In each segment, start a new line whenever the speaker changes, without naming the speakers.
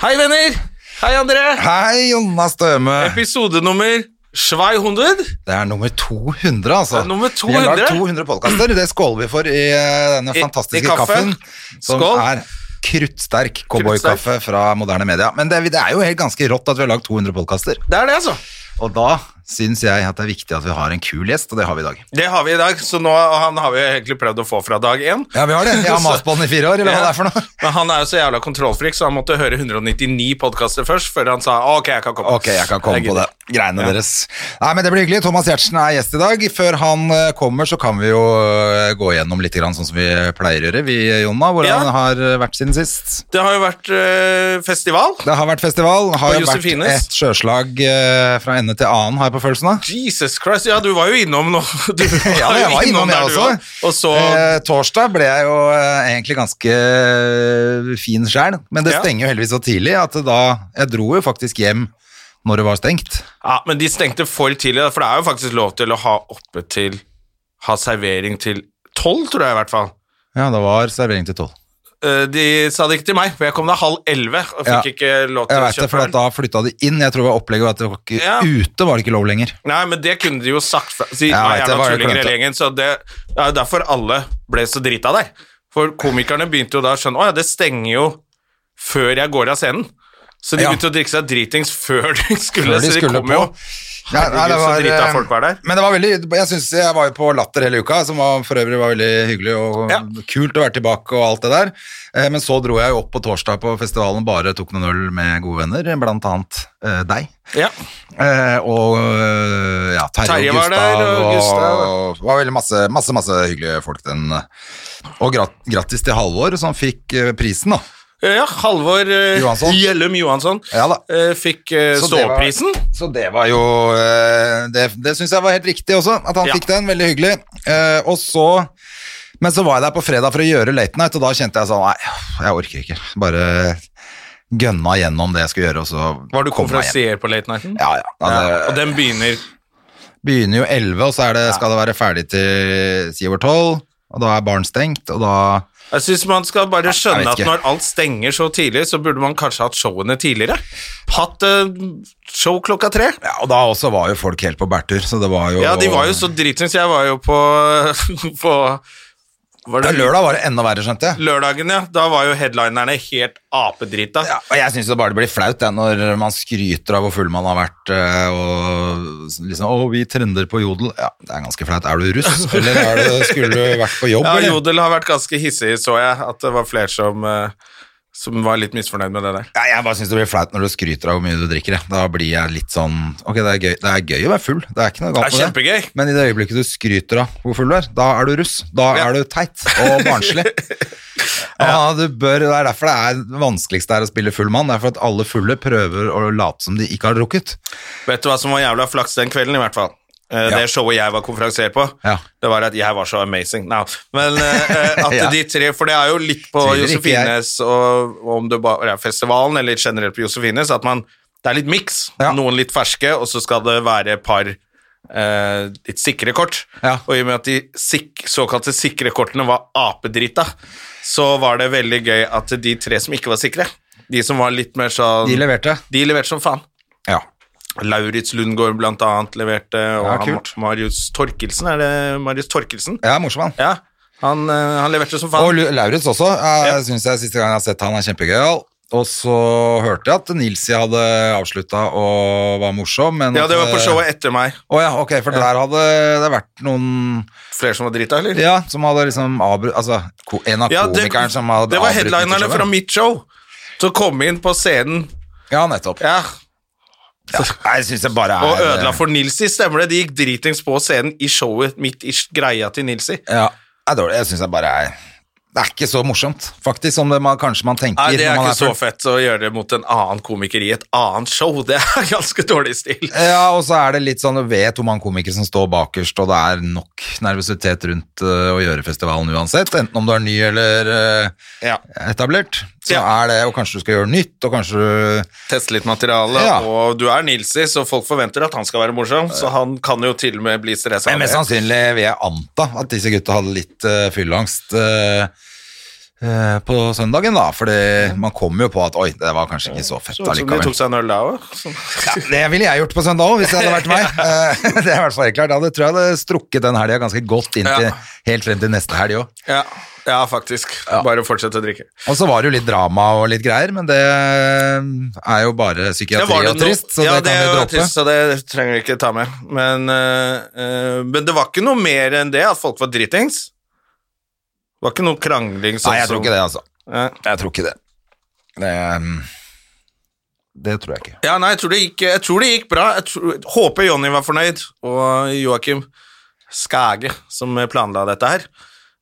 Hei, venner! Hei, André!
Hei, Jonna Støme.
Episodenummer 200.
Det er nummer 200, altså.
Det er nummer
Vi har
200.
lagd 200 podkaster. Det skåler vi for i eh, denne
I-
fantastiske
i kaffen.
kaffen. Som
Skål.
er kruttsterk cowboykaffe fra moderne media. Men det, det er jo helt ganske rått at vi har lagd 200 podkaster.
Det er det, altså.
Og da syns jeg at det er viktig at vi har en kul gjest, og det har vi i dag.
Det har vi i dag, så nå og han har vi egentlig prøvd å få fra dag én.
Ja, vi har det. Jeg har mast på den i fire år, eller hva det er for noe.
Men han er jo så jævla kontrollfrik, så han måtte høre 199 podkaster først før han sa ok, jeg kan komme.
Ok, jeg kan komme
Jeg
på det.
gidder.
Greiene
Ja.
deres. Nei, men det blir hyggelig. Thomas Giertsen er gjest i dag. Før han eh, kommer, så kan vi jo eh, gå gjennom litt grann, sånn som vi pleier å gjøre, vi, Jonna. Hvordan
Ja.
det har eh, vært siden sist?
Det har jo vært eh, festival.
Det har vært festival. Det Har
På
jo vært
Josefines.
et sjøslag eh, fra ende til annen, har jeg på følelsen av.
Jesus Christ. Ja, du var jo innom nå. Du
Ja, jeg var innom, jeg
der du
også.
var. Og så
Eh, torsdag ble jeg jo eh, egentlig ganske eh, fin sjæl, men det
Ja.
stenger jo heldigvis så tidlig at da Jeg dro jo faktisk hjem når det var stengt.
Ja, men de stengte for tidlig, for det er jo faktisk lov til å ha oppe til Ha servering til tolv, tror jeg i hvert fall.
Ja, det var servering til tolv.
Eh, De sa det ikke til meg, for jeg kom da halv elleve og
Ja.
fikk ikke lov til
Jeg
å
vet det,
kjøpe
for at
den.
da flytta de inn. Jeg tror det var opplegget var at det var ikke,
Ja.
ute var det ikke lov lenger.
Nei, men det kunne de jo sagt fra. Si,
Jeg
nei,
vet det,
jævla
bare
tullinger
klønete.
hele gjengen. Så det det er jo derfor alle ble så drita der. For komikerne begynte jo da å skjønne Å ja, det stenger jo før jeg går av scenen. Så de
Ja.
begynte å drikke seg dritings før de
Før
skulle.
de
så de
skulle
kom jo
på. Ja, nei, det
Herregud, så
var,
drita
eh,
folk var der.
Men det var veldig, jeg synes jeg var jo på Latter hele uka, som var, for øvrig var veldig hyggelig og
Ja.
kult å være tilbake og alt det der. Eh, Men så dro jeg jo opp på torsdag på festivalen, bare tok noen øl med gode venner, blant annet eh, deg.
Ja.
Eh, og eh, ja, Terje,
Terje
og
var
Gustav,
der, og Gustav.
og det var veldig masse, masse, masse hyggelige folk den. eh. Og grat grattis til Halvor, som fikk eh, prisen da.
ja, Halvor eh,
Johansson.
Gjellum Johansson
Ja da.
eh, fikk eh,
Så det var-
ståprisen.
Så det var jo eh, Det, det syns jeg var helt riktig også, at han
Ja.
fikk den. Veldig hyggelig. Eh, Og så Men så var jeg der på fredag for å gjøre Late Night, og da kjente jeg sånn Nei, jeg orker ikke. Bare gønna gjennom det jeg skulle gjøre, og så
Var du
kom jeg hjem.
konferansier på Late Nighten?
Ja, ja. Altså,
Ja, og den begynner
Begynner jo 11, og så er det, skal det være ferdig til si over 12, og da er baren stengt, og da
Jeg syns man skal bare skjønne
vet
at
ikke.
når alt stenger så tidlig, så burde man kanskje hatt showene tidligere. Hatt eh, show klokka tre.
ja, Og da også var jo folk helt på bærtur, så det var jo
Ja, de var jo så dritings. Jeg var jo på, på var
ja, Lørdag var det enda verre, skjønte jeg.
Lørdagen, ja. Da var jo headlinerne helt apedrita.
Ja, og jeg syns det bare blir flaut jeg, når man skryter av hvor full man har vært. eh, Og liksom 'Å, vi trender på Jodel'. Ja, det er ganske flaut. Er du russ, eller er du, skulle du vært på jobb?
Ja,
eller?
Jodel har vært ganske hissig, så jeg. At det var flere som, eh, som var litt misfornøyd med det der.
Ja, jeg bare syns det blir flaut når du skryter av hvor mye du drikker. jeg. Da blir jeg litt sånn Ok, det er gøy, det er gøy å være full. Det er ikke noe
Det
galt
er
med det.
kjempegøy.
Men i det øyeblikket du skryter av hvor full du er, da er du russ. Da
Ja.
er du teit og barnslig. Ja, du bør, Det er derfor det er det vanskeligste er å spille full mann. Det er for at alle fulle prøver å late som de ikke har drukket.
Vet du hva som var jævla flaks den kvelden, i hvert fall? Eh,
Ja.
Det showet jeg var konferansier på,
Ja.
det var at jeg var så amazing. Nei, men eh, at
Ja.
de tre For det er jo litt på
Tviler ikke jeg.
Josefines og og om det bare er festivalen, eller generelt på Josefines, at man Det er litt miks.
Ja.
Noen litt ferske, og så skal det være et par eh, litt sikre kort.
Ja.
Og i og med at de sik såkalte sikre kortene var apedrita, så var det veldig gøy at de tre som ikke var sikre, de som var litt mer sånn
De leverte.
de leverte som faen.
Ja.
Lauritz Lundgaard blant annet leverte, og
Ja,
han,
kult.
Marius Torkelsen, er det Marius Torkelsen?
Ja, morsom han.
Ja, han, eh, han leverte som faen.
Og Lu- Lauritz også. Jeg
Ja.
synes jeg siste gang jeg har sett han er kjempegøyal. Og så hørte jeg at Nilsi hadde avslutta og var morsom, men
ja, det var på
at- eh,
showet etter meg.
Å ja, ok, for der hadde det vært noen
Flere som var drita, eller?
Ja, som hadde liksom avbrutt Altså, ko- en av komikerne som hadde
det var
avbrutt
headlinerne
showet.
fra mitt show. Så kom inn på scenen,
Ja, nettopp.
ja,
Nei, jeg synes det bare er eh,
og ødela for Nilsi, stemmer det? De gikk dritings på scenen i showet midt i greia til Nilsi.
Ja, det er dårlig. Jeg synes det bare er Det er ikke så morsomt, faktisk, som det man, kanskje man tenker.
Nei, det
når
er
man
ikke så
full.
fett å gjøre det mot en annen komiker i et annet show. Det er ganske dårlig stil.
Ja, og så er det litt sånn, du vet hvor mange komikere som står bakerst, og det er nok nervøsitet rundt eh, å gjøre festivalen uansett, enten om du er ny eller eh,
Ja.
etablert. Så
Ja.
er det, og kanskje du skal gjøre nytt, og kanskje du
Teste litt materiale,
Ja.
og du er Nilsi, så folk forventer at han skal være morsom, så han kan jo til og med bli stressa.
Men mest sannsynlig vil jeg anta at disse gutta hadde litt eh, fylleangst eh, eh, på søndagen, da. Fordi man kommer jo på at oi, det var kanskje ikke så fett
Sånn som de
allikevel.
tok seg en øl da òg.
Ja, det ville jeg gjort på søndag òg, hvis det hadde vært meg. Eh, det er i hvert fall helt klart. Jeg hadde, tror jeg hadde strukket den helga ganske godt inn til,
Ja.
helt frem til neste helg òg.
Ja. ja, faktisk. Bare fortsett å drikke.
Og så var det jo litt drama og litt greier, men det er jo bare
Ja,
psykiatri
var det
og
noe-
trist, så
ja,
det kan
er
vi
jo
droppe.
Trist, så det trenger vi ikke ta med. Men, eh, eh, men det var ikke noe mer enn det, at folk var dritings. Det var ikke noe krangling. sånn
Nei, jeg tror ikke det, altså.
det.
Jeg tror ikke det. Det, mm, det tror jeg ikke.
Ja, nei, jeg tror det gikk, jeg tror det gikk bra. Jeg tror, håper Jonny var fornøyd, og Joakim Skage, som planla dette her.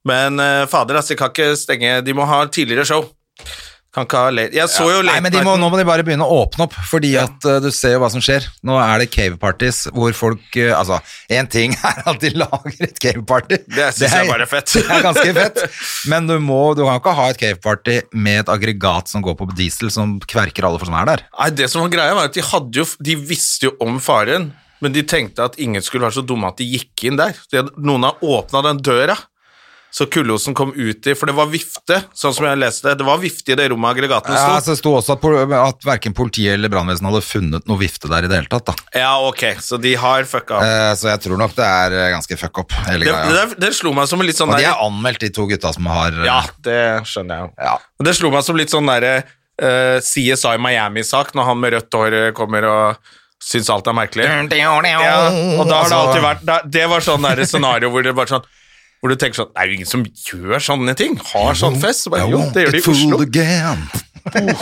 Men eh, fader, altså, de kan ikke stenge De må ha tidligere show. Kan ikke ha late Jeg så jo
Nei,
late
men de må, Nå må de bare begynne å åpne opp, fordi at eh, du ser jo hva som skjer. Nå er det cave parties hvor folk eh, Altså, én ting er at de lager et cave party.
Det synes jeg bare er fett.
Det er ganske fett. Men du, må, du kan jo ikke ha et cave party med et aggregat som går på diesel, som kverker alle for som er der.
Nei, det som var greia var at de, hadde jo, de visste jo om faren, men de tenkte at ingen skulle være så dumme at de gikk inn der. De hadde, noen har åpna den døra, så Kullosen kom ut i For det var vifte, sånn som jeg leste. Det var vifte i det rommet aggregatene
Ja,
sto.
altså, det sto også at, pol- at verken politiet eller brannvesenet hadde funnet noe vifte der i det hele tatt. Da.
Ja, ok, så de har fucka opp.
Eh, så jeg tror nok det er eh, ganske fuck up, hele
Det, det,
greia.
der- det slo meg som en litt sånn
Og de
der-
er anmeldt, de to gutta som har eh,
Ja, det skjønner jeg jo.
Ja.
Men Det slo meg som litt sånn derre eh, CSI Miami-sak, når han med rødt hår eh, kommer og syns alt er merkelig. Ja, og da har det alltid vært da, Det var sånn der scenario hvor det bare sånn hvor du tenker sånn, det er jo ingen som gjør sånne ting, har sånn fest. Så bare, jo, det gjør de i Oslo.
Again.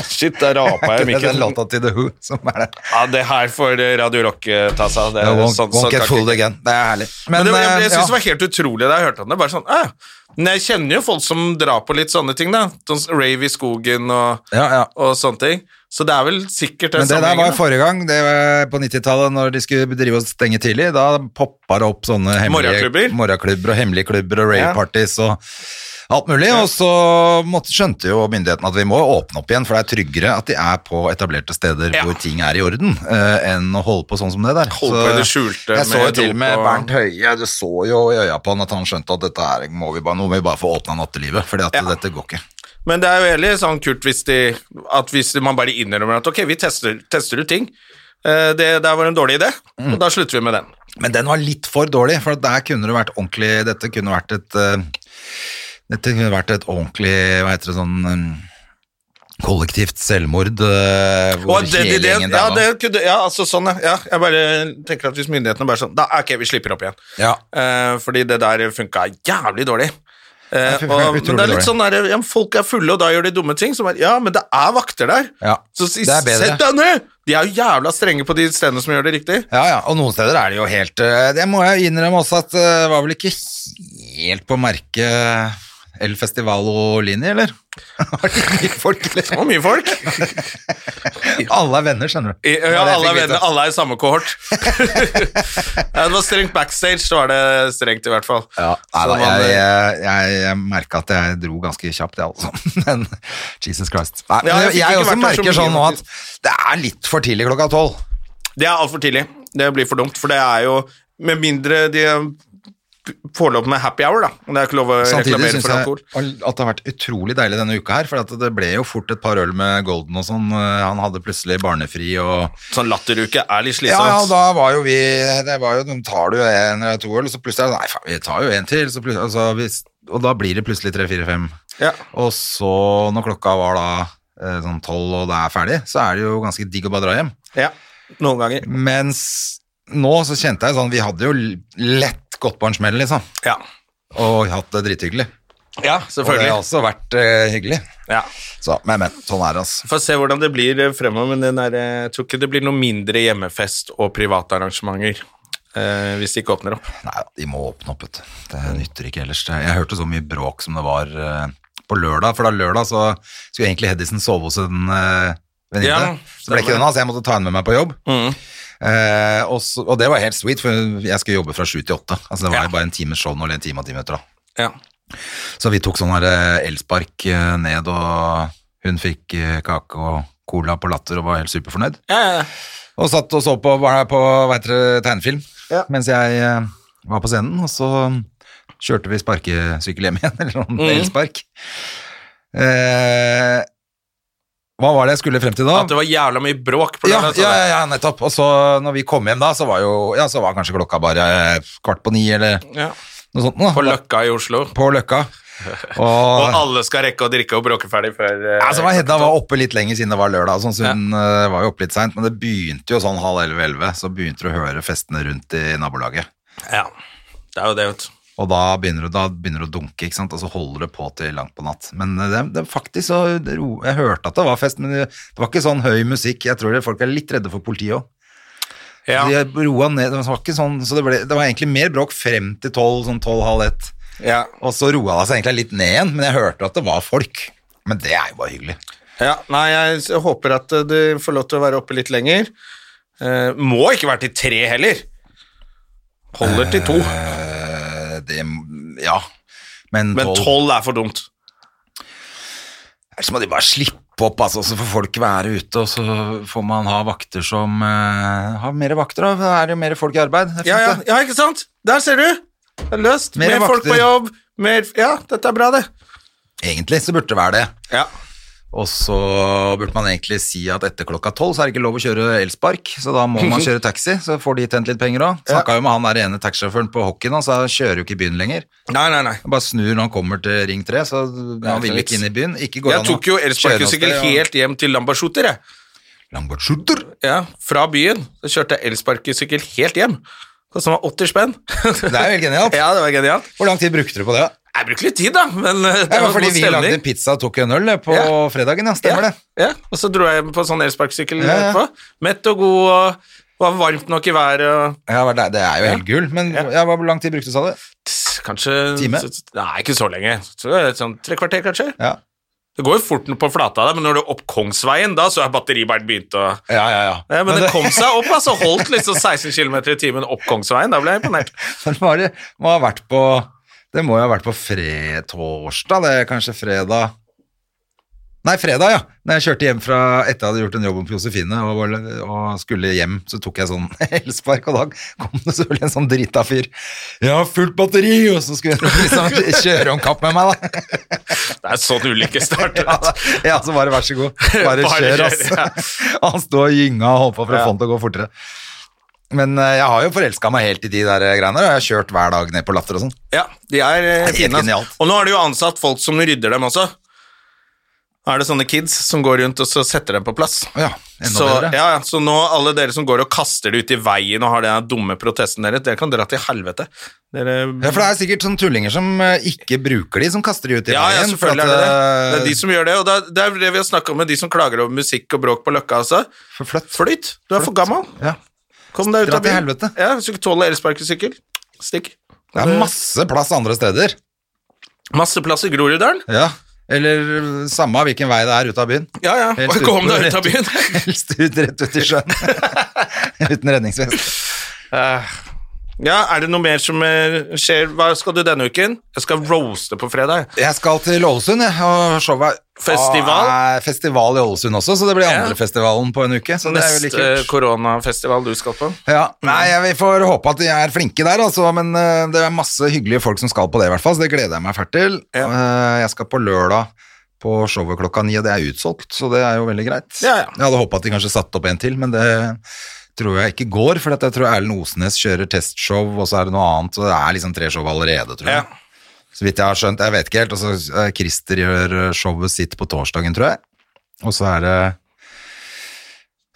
Shit, der rapa
Er ikke det
jeg
den
mikken.
låta til The Who som er det?
Ja, det her får eh, Radio Rock eh, ta seg av. Det,
No,
er
won't,
sånn-
won't
sånn
get
kan
fooled
ikke-
again. Det er herlig. Men,
Men det, jeg,
eh,
jeg synes det
ja.
var helt utrolig da jeg hørte om det. Bare sånn, «Æ». Men jeg kjenner jo folk som drar på litt sånne ting, da. Sånn som Rave i skogen og,
Ja, ja.
og sånne ting. Så det er vel sikkert
Men
en
det der var
sammenheng.
jo forrige gang, det var på 90-tallet, når de skulle drive og stenge tidlig. Da poppa det opp sånne hemmelige
Morgenklubber.
morgenklubber og hemmelige klubber og
Ja.
raveparties og alt mulig. Og så måtte, skjønte jo myndighetene at vi må åpne opp igjen, for det er tryggere at de er på etablerte steder
Ja.
hvor ting er i orden, eh, enn å holde på sånn som det der.
Holde på i det skjulte
Jeg så
med
jo til
dop
og med
og-
Bernt Høie, du så jo i øya på han at han skjønte at dette her må vi bare, nå må vi bare få åpna nattelivet, fordi at
Ja.
dette går ikke.
Men det er jo veldig sånn kult hvis, de, at hvis man bare innrømmer at ok, vi tester, tester ut ting. Eh, Det der var en dårlig idé,
Mm.
og da slutter vi med den.
Men den var litt for dårlig, for der kunne det vært ordentlig Dette kunne vært et eh, Dette kunne vært et ordentlig Hva heter det sånn eh, Kollektivt selvmord eh, Hvor
Og det, det, det,
helgjengen
ja,
der var.
det kunne, ja, altså sånn, ja. ja. Jeg bare tenker at hvis myndighetene bare sånn da, Ok, vi slipper opp igjen.
Ja.
Eh, fordi det der funka jævlig dårlig. Eh,
Det funka
og, men
utrolig
det er litt
dårlig.
sånn der, ja, men Folk er fulle, og da gjør de dumme ting. Som er, ja, men det er vakter der.
Ja,
så si,
det er bedre.
sett deg ned! De er jo jævla strenge på de stedene som gjør det riktig.
Ja, ja, og noen steder er det jo helt eh, Det må jeg innrømme også at eh, det var vel ikke helt på merke El Festivalo-linje, eller? Var det ikke mye folk,
Det
eller?
var mye folk.
Alle er venner, skjønner du.
I, ja,
Det var det jeg
alle, er
fikk vite.
venner, alle er i samme kohort. ja, det var strengt backstage, så var det strengt i hvert fall.
Ja, nei,
Så eh,
da,
man-
jeg, jeg, jeg, jeg merka at jeg dro ganske kjapt, jeg altså. Men Jesus Christ. Nei,
Ja,
men
jeg
jeg,
fikk ikke
også
vært der så
merker
mye,
sånn nå at
faktisk.
det er litt for tidlig klokka tolv.
Det er altfor tidlig. Det blir for dumt, for det er jo Med mindre de får lov med happy hour, da. Det er ikke lov å
Samtidig
reklamere
syns
for
jeg
alkohol.
at det har vært utrolig deilig denne uka her, for at det ble jo fort et par øl med Golden og sånn. Han hadde plutselig barnefri og
Sånn latteruke er litt
Ja,
slitsomt.
ja, og da var jo vi det var jo, De tar du en eller to øl, og så plutselig er det, sånn, Nei, faen, vi tar jo en til. Så plutselig, altså, hvis, og da blir det plutselig tre, fire, fem.
Ja.
Og så, når klokka var da eh, sånn tolv, og det er ferdig, så er det jo ganske digg å bare dra hjem.
Ja, noen ganger.
Mens nå så kjente jeg sånn Vi hadde jo lett gått på en smell, liksom.
Ja,
Og hatt det drithyggelig. Og
ja
det har
selvfølgelig.
også vært eh, hyggelig.
Ja.
Så, men, men. Sånn er det, altså.
Får se hvordan det blir eh, fremover, men den der, eh, jeg tror ikke det blir noe mindre hjemmefest og private arrangementer eh, hvis de ikke åpner opp.
Nei, de må åpne opp, vet du. Det nytter ikke ellers. Jeg hørte så mye bråk som det var eh, på lørdag, for da lørdag så skulle egentlig Hedison sove hos en eh, venninne.
Ja,
så ble ikke
stemmer.
den av, så jeg måtte ta henne med meg på jobb.
Mm.
Eh, og, så, og det var helt sweet, for jeg skulle jobbe fra sju til åtte. Altså, det var
Ja.
jo bare en times show nå, eller en time og ti minutter. da.
Ja.
Så vi tok sånn her eh, elspark eh, ned, og hun fikk eh, kake og cola på latter og var helt superfornøyd.
Ja, ja, ja.
Og satt og så på, var på hva heter det, tegnefilm mens jeg eh, var på scenen, og så mm, kjørte vi sparkesykkel hjem igjen, eller sånn
Mm.
elspark. Eh, hva var det jeg skulle frem til da?
At det var jævla mye bråk på
Ja,
lørdag. så
ja,
det-
ja, ja, nettopp. Og så når vi kom hjem da, så var jo, ja, så var kanskje klokka bare eh, kvart på ni, eller
Ja.
noe sånt. Da.
På Løkka i Oslo.
På Løkka.
Og
Og,
alle skal rekke å drikke og bråke ferdig før eh,
Ja, så var Hedda var oppe litt lenger siden det var lørdag, sånn, så hun eh, var jo oppe litt seint. Men det begynte jo sånn halv elleve-elleve, så begynte du å høre festene rundt i nabolaget.
Ja. Det er jo det, vet du.
Og da begynner du, da begynner du å dunke, ikke sant? og så holder det på til langt på natt. Men eh, det, det er faktisk så ro- Jeg hørte at det var fest, men det det var ikke sånn høy musikk. Jeg tror det, folk er litt redde for politiet òg.
Ja.
De roa ned, det var ikke sånn, så det, ble, det var egentlig mer bråk frem til tolv, sånn tolv-halv ett.
Ja.
Og så roa det seg egentlig litt ned igjen, men jeg hørte at det var folk. Men det er jo bare hyggelig.
ja. Nei, jeg s- håper at eh, du får lov til å være oppe litt lenger. Eh, må ikke være til tre heller. Holder til to.
Eh, det, ja. Men,
Men
tolv-
tolv er for dumt.
Ellers må de bare slippe opp, altså, så får folk være ute, og så får man ha vakter som eh, Har mer vakter, da. Da er det jo mer folk i arbeid. Det er
Ja, ja,
fint, det.
ja, ikke sant? Der ser du. Det er løst.
Mer
Mer, folk
vakter.
på jobb. Mer, ja, dette er bra, det.
Egentlig så burde det være det.
Ja.
Og så burde man egentlig si at etter klokka tolv så er det ikke lov å kjøre elspark, så da må man kjøre taxi. Så får de tjent litt penger òg. Snakka jo med han der ene taxisjåføren på hockeyen, han sa han kjører jo ikke i byen lenger.
Nei, nei, nei.
Han bare snur når han kommer til Ring 3, så han vil ikke inn i byen. Ikke går
Jeg
an å
tok jo
kjøre
elsparkesykkel
noe sted, ja.
helt hjem til Lambertseter, jeg.
Lambertseter.
Ja, fra byen. Så kjørte jeg elsparkesykkel helt hjem. Kostet meg 80 spenn.
Det er jo helt genialt.
Ja, det var genialt.
Hvor lang tid brukte du på det? da?
Jeg brukte litt tid, da, men eh, det
Ja, men
var
fordi
god
vi lagde en
stemning.
pizza og tok en øl eh, på
Ja.
fredagen, ja. Stemmer
ja,
det?
ja, og så dro jeg hjem på sånn elsparkesykkel
Ja, ja.
etterpå. Mett og god, og var varmt nok i været. og
Ja, det er- det er jo helt gull. Men ja, hvor lang tid brukte du, sa du?
tss, Kanskje
Time?
Nei, ikke så lenge. Så det er sånn Tre kvarter, kanskje.
Ja.
Det går jo fort på flata der, men når du er opp Kongsveien, da så er batteriet bare begynt å
Ja, ja, ja.
ja, Men det kom seg opp, altså. Holdt liksom 16 km i timen opp Kongsveien. Da ble jeg imponert.
det var, det må ha vært på Det må jo ha vært på fred, torsdag, det er kanskje fredag Nei, fredag, ja. Når jeg kjørte hjem fra etter jeg hadde gjort en jobb på Josefine og, var- og skulle hjem, så tok jeg sånn elspark, og da kom det selvfølgelig en sånn drita fyr. 'Jeg har fullt batteri!' Og så skulle han liksom kjøre om kapp med meg, da.
Det er sånn ulykke starter.
Ja, da. ja, så bare vær så god. Bare,
Bare
kjør,
kjør,
ass. Han sto og gynga og holdt på for å få han til å gå fortere. Men eh, jeg har jo forelska meg helt i de der greiene der, og jeg har kjørt hver dag ned på latter og sånn.
Ja, de er eh,
Det er helt
fine.
genialt.
Og nå har de jo ansatt folk som rydder dem også. Er det sånne kids som går rundt og så setter dem på plass?
Å Ja, enda
Så,
bedre.
ja, ja, så nå alle dere som går og kaster det ut i veien og har den dumme protesten deres, dere kan dra til helvete. Dere
Ja, for det er sikkert sånne tullinger som eh, ikke bruker de, som kaster de ut i
ja, ja,
veien. for
selvfølgelig
at,
er det det. Det er
eh,
de som gjør det, og det er- det er det vi har snakka om med de som klager over musikk og bråk på Løkka. Altså.
For fløtt.
Flytt! Du er for gammel.
Ja.
Kom deg ut
Dra
av
til
byen.
helvete.
Ja, Hvis du ikke tåler elsparkesykkel, stikk.
Det er masse plass andre steder.
Masse plass i Groruddalen.
Ja. Eller eh, samme hvilken vei det er ut av byen.
Ja, ja.
Helt ut-
Kom deg ut av byen.
Helst ut rett ut i sjøen. Uten redningsvest.
Ja, Er det noe mer som eh, skjer? Hva skal du denne uken? Jeg skal roaste på fredag.
Jeg skal til Ålesund, jeg, og showet er-
Festival?
er festival i Ålesund også, så det blir
Ja.
andre festivalen på en uke. Så det er jo litt kult.
Neste koronafestival du skal på.
Ja. Nei, jeg- vi får håpe at de er flinke der, altså, men eh, det er masse hyggelige folk som skal på det, i hvert fall, så det gleder jeg meg fælt til. Eh, jeg skal på lørdag på showet klokka ni, og det er utsolgt, så det er jo veldig greit.
Ja, ja.
Jeg hadde håpa at de kanskje satte opp en til, men det tror jeg ikke går, for at jeg tror Erlend Osnes kjører testshow, og så er det noe annet, og det er liksom tre show allerede, tror jeg.
Ja.
Så vidt jeg har skjønt, jeg vet ikke helt. Og så eh, Christer gjør eh, showet sitt på torsdagen, tror jeg. Og så er det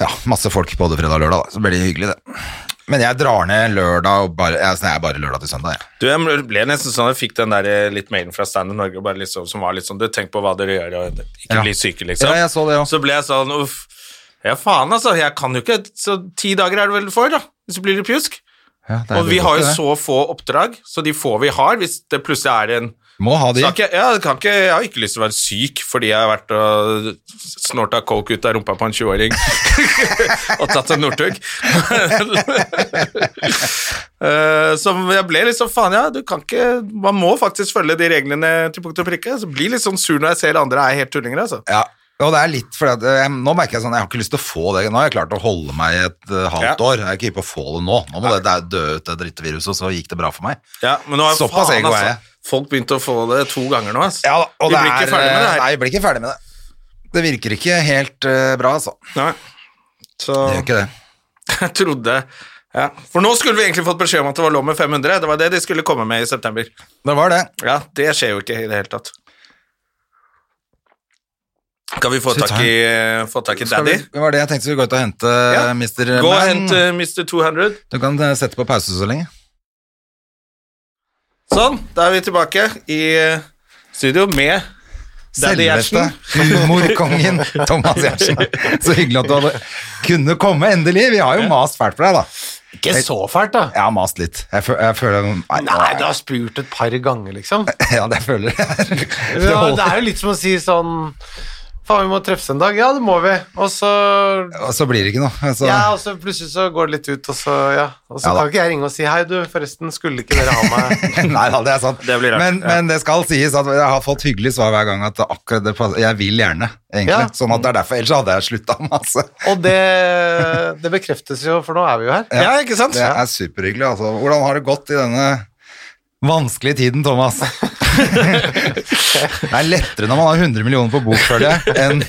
ja, masse folk både fredag og lørdag, da. Så blir det hyggelig, det. Men jeg drar ned lørdag og bare Jeg, jeg er bare lørdag til søndag, jeg.
Du, jeg ble nesten sånn, jeg fikk den der eh, litt mailen fra Stand Up Norge og bare liksom, som var litt sånn Du, tenk på hva dere gjør, og ikke
Ja.
bli syke, liksom.
Ja, jeg så det også.
Så ble jeg sånn Uff. Ja, faen, altså. Jeg kan jo ikke Så ti dager er det vel for, da. Så blir det pjusk.
Ja, det er
Og vi
godt,
har jo
det.
så få oppdrag, så de få vi har, hvis det plutselig er en
Må ha de.
Skal ikke, ja, det kan ikke, jeg har ikke lyst til å være syk fordi jeg har vært og snorta coke ut av rumpa på en 20-åring og tatt en Northug. Eh, Så jeg ble litt sånn faen, ja, du kan ikke Man må faktisk følge de reglene til punkt og prikke. Så blir jeg litt sånn sur når jeg ser andre er helt tullinger, altså.
Ja. Og det er litt fordi at eh, Nå merker jeg sånn, jeg har ikke lyst til å få det. Nå har jeg klart å holde meg i et eh, halvt
Ja.
år. Jeg er ikke hypp på å få det nå. Nå må det, det er dø ut, det drittviruset, og så gikk det bra for meg.
Ja, men nå har
Såpass
faen,
ego er jeg.
altså. Folk begynte å få det to ganger nå, altså.
Ja, da, og
vi
det
blir ikke
er,
ferdig med det eh, her.
Nei, vi blir ikke ferdig med det. Det virker ikke helt eh, bra, altså.
Nei. Så
Det gjør ikke det.
jeg trodde ja. For nå skulle vi egentlig fått beskjed om at det var lov med 500. Det var det de skulle komme med i september.
Det var det.
Ja, det skjer jo ikke i det hele tatt. Kan vi få
Skal vi
tak
ta-
i, eh, få tak i
Skal
daddy?
Vi, det var det jeg tenkte vi skulle gå ut og hente eh,
Ja.
Mister
Gå og
Man.
hent eh, Mr. 200.
Du kan eh, sette på pause så lenge.
Sånn, da er vi tilbake i eh, studio med Daddy
Selveste
Gjertsen.
humorkongen Thomas Gjertsen. Så hyggelig at du hadde kunne komme, endelig. Vi har jo mast fælt for deg, da.
Ikke så fælt, da.
Jeg har mast litt. Jeg, fø jeg føler Nei,
Nei, du har spurt et par ganger, liksom.
Ja, det føler jeg. Det
Ja, det
holder.
er jo litt som å si sånn Faen, vi må treffes en dag. Ja, det må vi. Og så
Og så blir det ikke noe. Altså,
Ja, og så plutselig så går det litt ut, og så Ja. Og så
Ja da.
kan ikke jeg ringe og si Hei, du, forresten, skulle ikke dere ha meg
Nei da, det er sant.
Det blir rart,
men,
ja.
men det skal sies at jeg har fått hyggelig svar hver gang at det akkurat det passer. Jeg vil gjerne, egentlig.
Ja.
Sånn at det er derfor. Ellers hadde jeg altså. slutta masse.
Og det, det bekreftes jo, for nå er vi jo her.
Ja, ikke sant?
Det er superhyggelig, altså. Hvordan har det gått i denne vanskelige tiden, Thomas? det er lettere når man har 100 millioner på bok, føler jeg, enn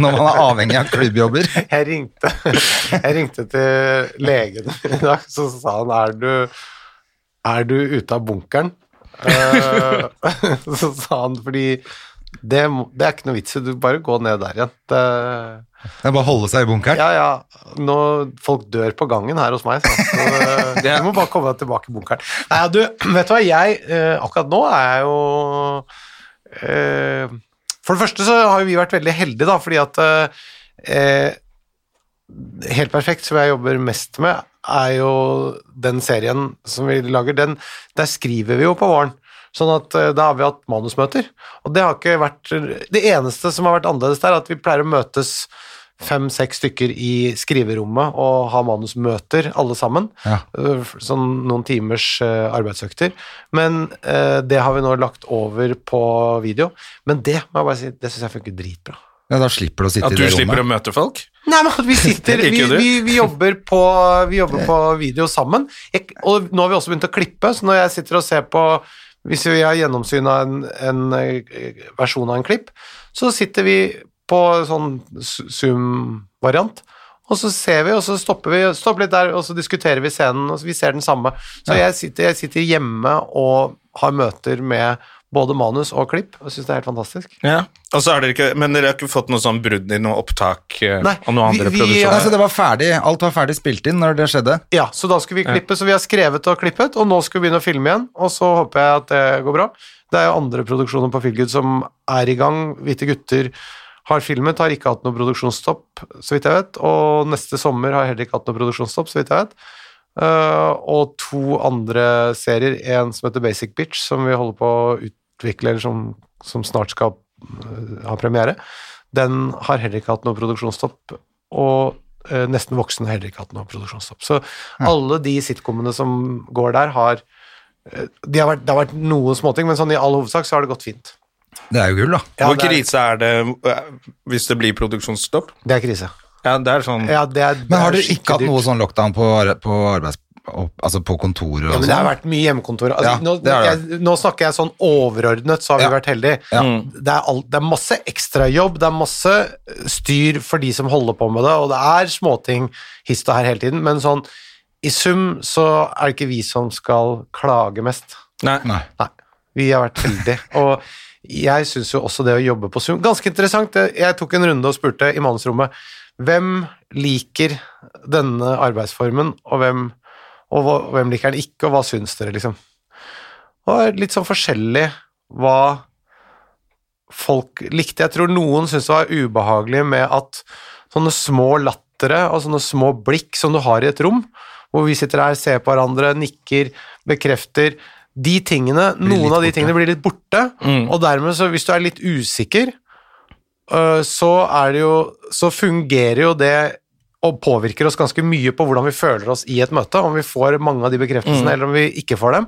når man er avhengig av klubbjobber.
Jeg ringte, jeg ringte til legen i dag, så sa han Er du, er du ute av bunkeren? Eh, så sa han fordi det, må- det er ikke noe vits i, du bare gå ned der igjen. Det,
Det er bare å holde seg i bunkeren.
ja, ja, nå, folk dør på gangen her hos meg, så, så eh, du må bare komme deg tilbake i bunkeren. Nei, ja, du, vet du hva, jeg eh, akkurat nå er jeg jo Eh, For det første så har jo vi vært veldig heldige, da, fordi at eh, Helt perfekt, som jeg jobber mest med, er jo den serien som vi lager. Den, der skriver vi jo på våren. Sånn at eh, da har vi hatt manusmøter. Og det har ikke vært Det eneste som har vært annerledes der, er at vi pleier å møtes fem-seks stykker i skriverommet og ha manusmøter, alle sammen.
Ja.
Eh, f- Sånn noen timers eh, arbeidsøkter. Men eh, det har vi nå lagt over på video. Men det må jeg bare si, det syns jeg funker dritbra.
Ja, da slipper du å sitte
At
i
du
det
slipper å
rommet.
møte folk?
Nei, men at vi sitter
Det
vi,
liker jo du.
vi, vi, jobber på, vi jobber på video sammen. Jeg, og nå har vi også begynt å klippe, så når jeg sitter og ser på Hvis vi har gjennomsyna en, en eh, versjon av en klipp, så sitter vi på sånn s- Zoom-variant. Og så ser vi, og så stopper vi stopper litt der, og så diskuterer vi scenen, og så vi ser den samme. Så jeg, sitter, jeg sitter hjemme og har møter med både manus og klipp, og syns det er helt fantastisk.
Ja. Og så er dere ikke, men dere har ikke fått noe sånn brudd i noe opptak eh,
Nei,
og noen
vi-
andre
vi-
Nei, så
produksjoner?
det var ferdig, alt var ferdig spilt inn når det skjedde.
Ja, så da skulle vi klippe, så vi har skrevet og klippet, og nå skal vi begynne å filme igjen, og så håper jeg at det går bra. Det er jo andre produksjoner på Filgud som er i gang. Hvite gutter har filmet, har ikke hatt noe produksjonsstopp, så vidt jeg vet, og neste sommer har heller ikke hatt noe produksjonsstopp, så vidt jeg vet. Eh, og to andre serier, en som heter Basic Bitch, som vi holder på å utvikle, eller som, som snart skal eh, ha premiere, den har heller ikke hatt noe produksjonsstopp, og eh, Nesten voksen har heller ikke hatt noe produksjonsstopp. Så alle de sitcomene som går der, har eh, de har vært, Det har vært noen småting, men sånn i all hovedsak så har det gått fint.
Det er jo gull, da.
Ja,
Hvor
det, er,
krise er det eh, hvis det blir produksjonsstopp?
det er krise.
Ja, det er sånn
Ja, det er,
Men har
det er
dere ikke hatt
skikkelig
noe
dyrt.
sånn lockdown på, ar- på arbeids... opp- Altså på kontoret og
ja, men Det har
sånn?
vært mye hjemmekontor. Altså,
Ja,
nå,
det har det
jeg, nå snakker jeg sånn overordnet, så har
Ja.
vi vært heldige.
Ja.
Det, er alt, det er masse ekstrajobb, det er masse styr for de som holder på med det, og det er småting hist og her hele tiden, men sånn i sum så er det ikke vi som skal klage mest.
Nei.
Nei.
Nei, vi har vært heldige. Og jeg syns jo også det å jobbe på Zoom Ganske interessant. Jeg tok en runde og spurte i mannsrommet hvem liker denne arbeidsformen, og hvem, og hva- hvem liker den ikke, og hva syns dere, liksom. Og litt sånn forskjellig hva folk likte. Jeg tror noen syntes det var ubehagelig med at sånne små lattere og sånne små blikk som du har i et rom, hvor vi sitter her, ser på hverandre, nikker, bekrefter de tingene, noen
litt borte.
av de
Mm.
tingene blir litt borte, og dermed så hvis du er litt usikker, øh, så er det jo Så fungerer jo det og påvirker oss ganske mye på hvordan vi føler oss i et møte, om vi får mange av de bekreftelsene,
Mm.
eller om vi ikke får dem.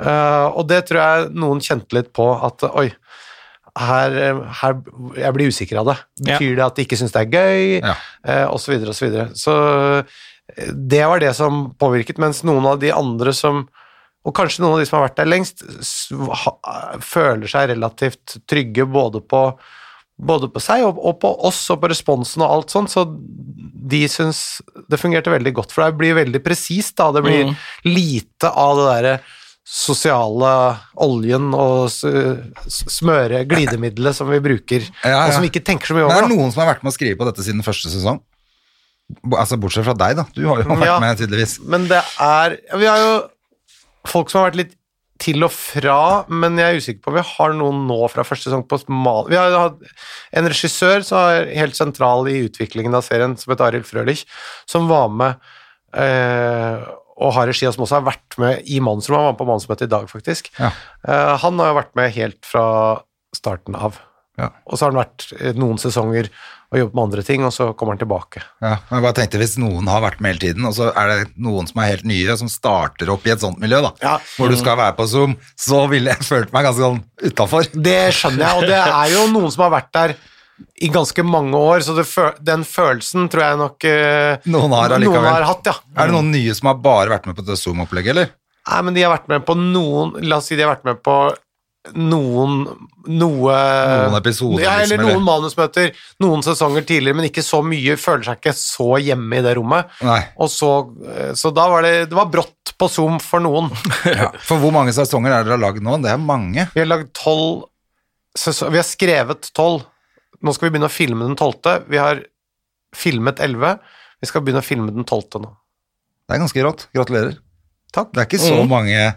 Eh, og det tror jeg noen kjente litt på, at oi, her, eh, her Jeg blir usikker av det.
Ja.
Betyr det at de ikke syns det er gøy?
Ja.
eh, og så videre og så videre. Så eh, det var det som påvirket, mens noen av de andre som og kanskje noen av de som har vært der lengst, s- ha- føler seg relativt trygge både på, både på seg og, og på oss og på responsen og alt sånt, så de syns det fungerte veldig godt. For det blir veldig presist, da. Det
Mm.
blir lite av det derre sosiale oljen og s- s- smøre glidemiddelet som vi bruker,
Ja,
og som
ja.
vi ikke tenker så mye
Men det
over.
er
da.
noen som har vært med å skrive på dette siden første sesong. B- Altså Bortsett fra deg, da. Du har jo vært
Ja.
med, tydeligvis.
Men det er Vi har jo folk som har vært litt til og fra, men jeg er usikker på om vi har noen nå fra første sesong på smal... Vi har jo hatt en regissør som er helt sentral i utviklingen av serien, som heter Arild Frølich, som var med eh, og har regi, og som også har vært med i Mannsrom. Han var med på Mannsmøtet i dag, faktisk.
Ja.
Eh, han har jo vært med helt fra starten av.
Ja.
Og så har han vært eh, noen sesonger og jobbet med andre ting, og så kommer han tilbake.
Ja, men jeg bare tenkte Hvis noen har vært med hele tiden, og så er det noen som er helt nye, som starter opp i et sånt miljø, da,
Ja.
hvor du skal være på Zoom, så ville jeg følt meg ganske sånn utafor.
Det skjønner jeg, og det er jo noen som har vært der i ganske mange år, så det fø- den følelsen tror jeg nok eh,
Noen har allikevel.
Noen har hatt, ja.
Er det noen nye som har bare vært med på det Zoom-opplegget, eller?
Nei, men de har vært med på noen La oss si de har vært med på noen noe
Noen episoder,
ja, Eller
liksom,
noen
eller?
manusmøter, noen sesonger tidligere, men ikke så mye. Føler seg ikke så hjemme i det rommet.
Nei.
Og så, eh, så da var det Det var brått på Zoom for noen.
For hvor mange sesonger er det dere har lagd nå? Det er mange.
Vi har lagd tolv sesong- Vi har skrevet tolv. Nå skal vi begynne å filme den tolvte. Vi har filmet elleve. Vi skal begynne å filme den tolvte nå.
Det er ganske rått. Gratulerer.
Takk. Mm.
Det er ikke så mange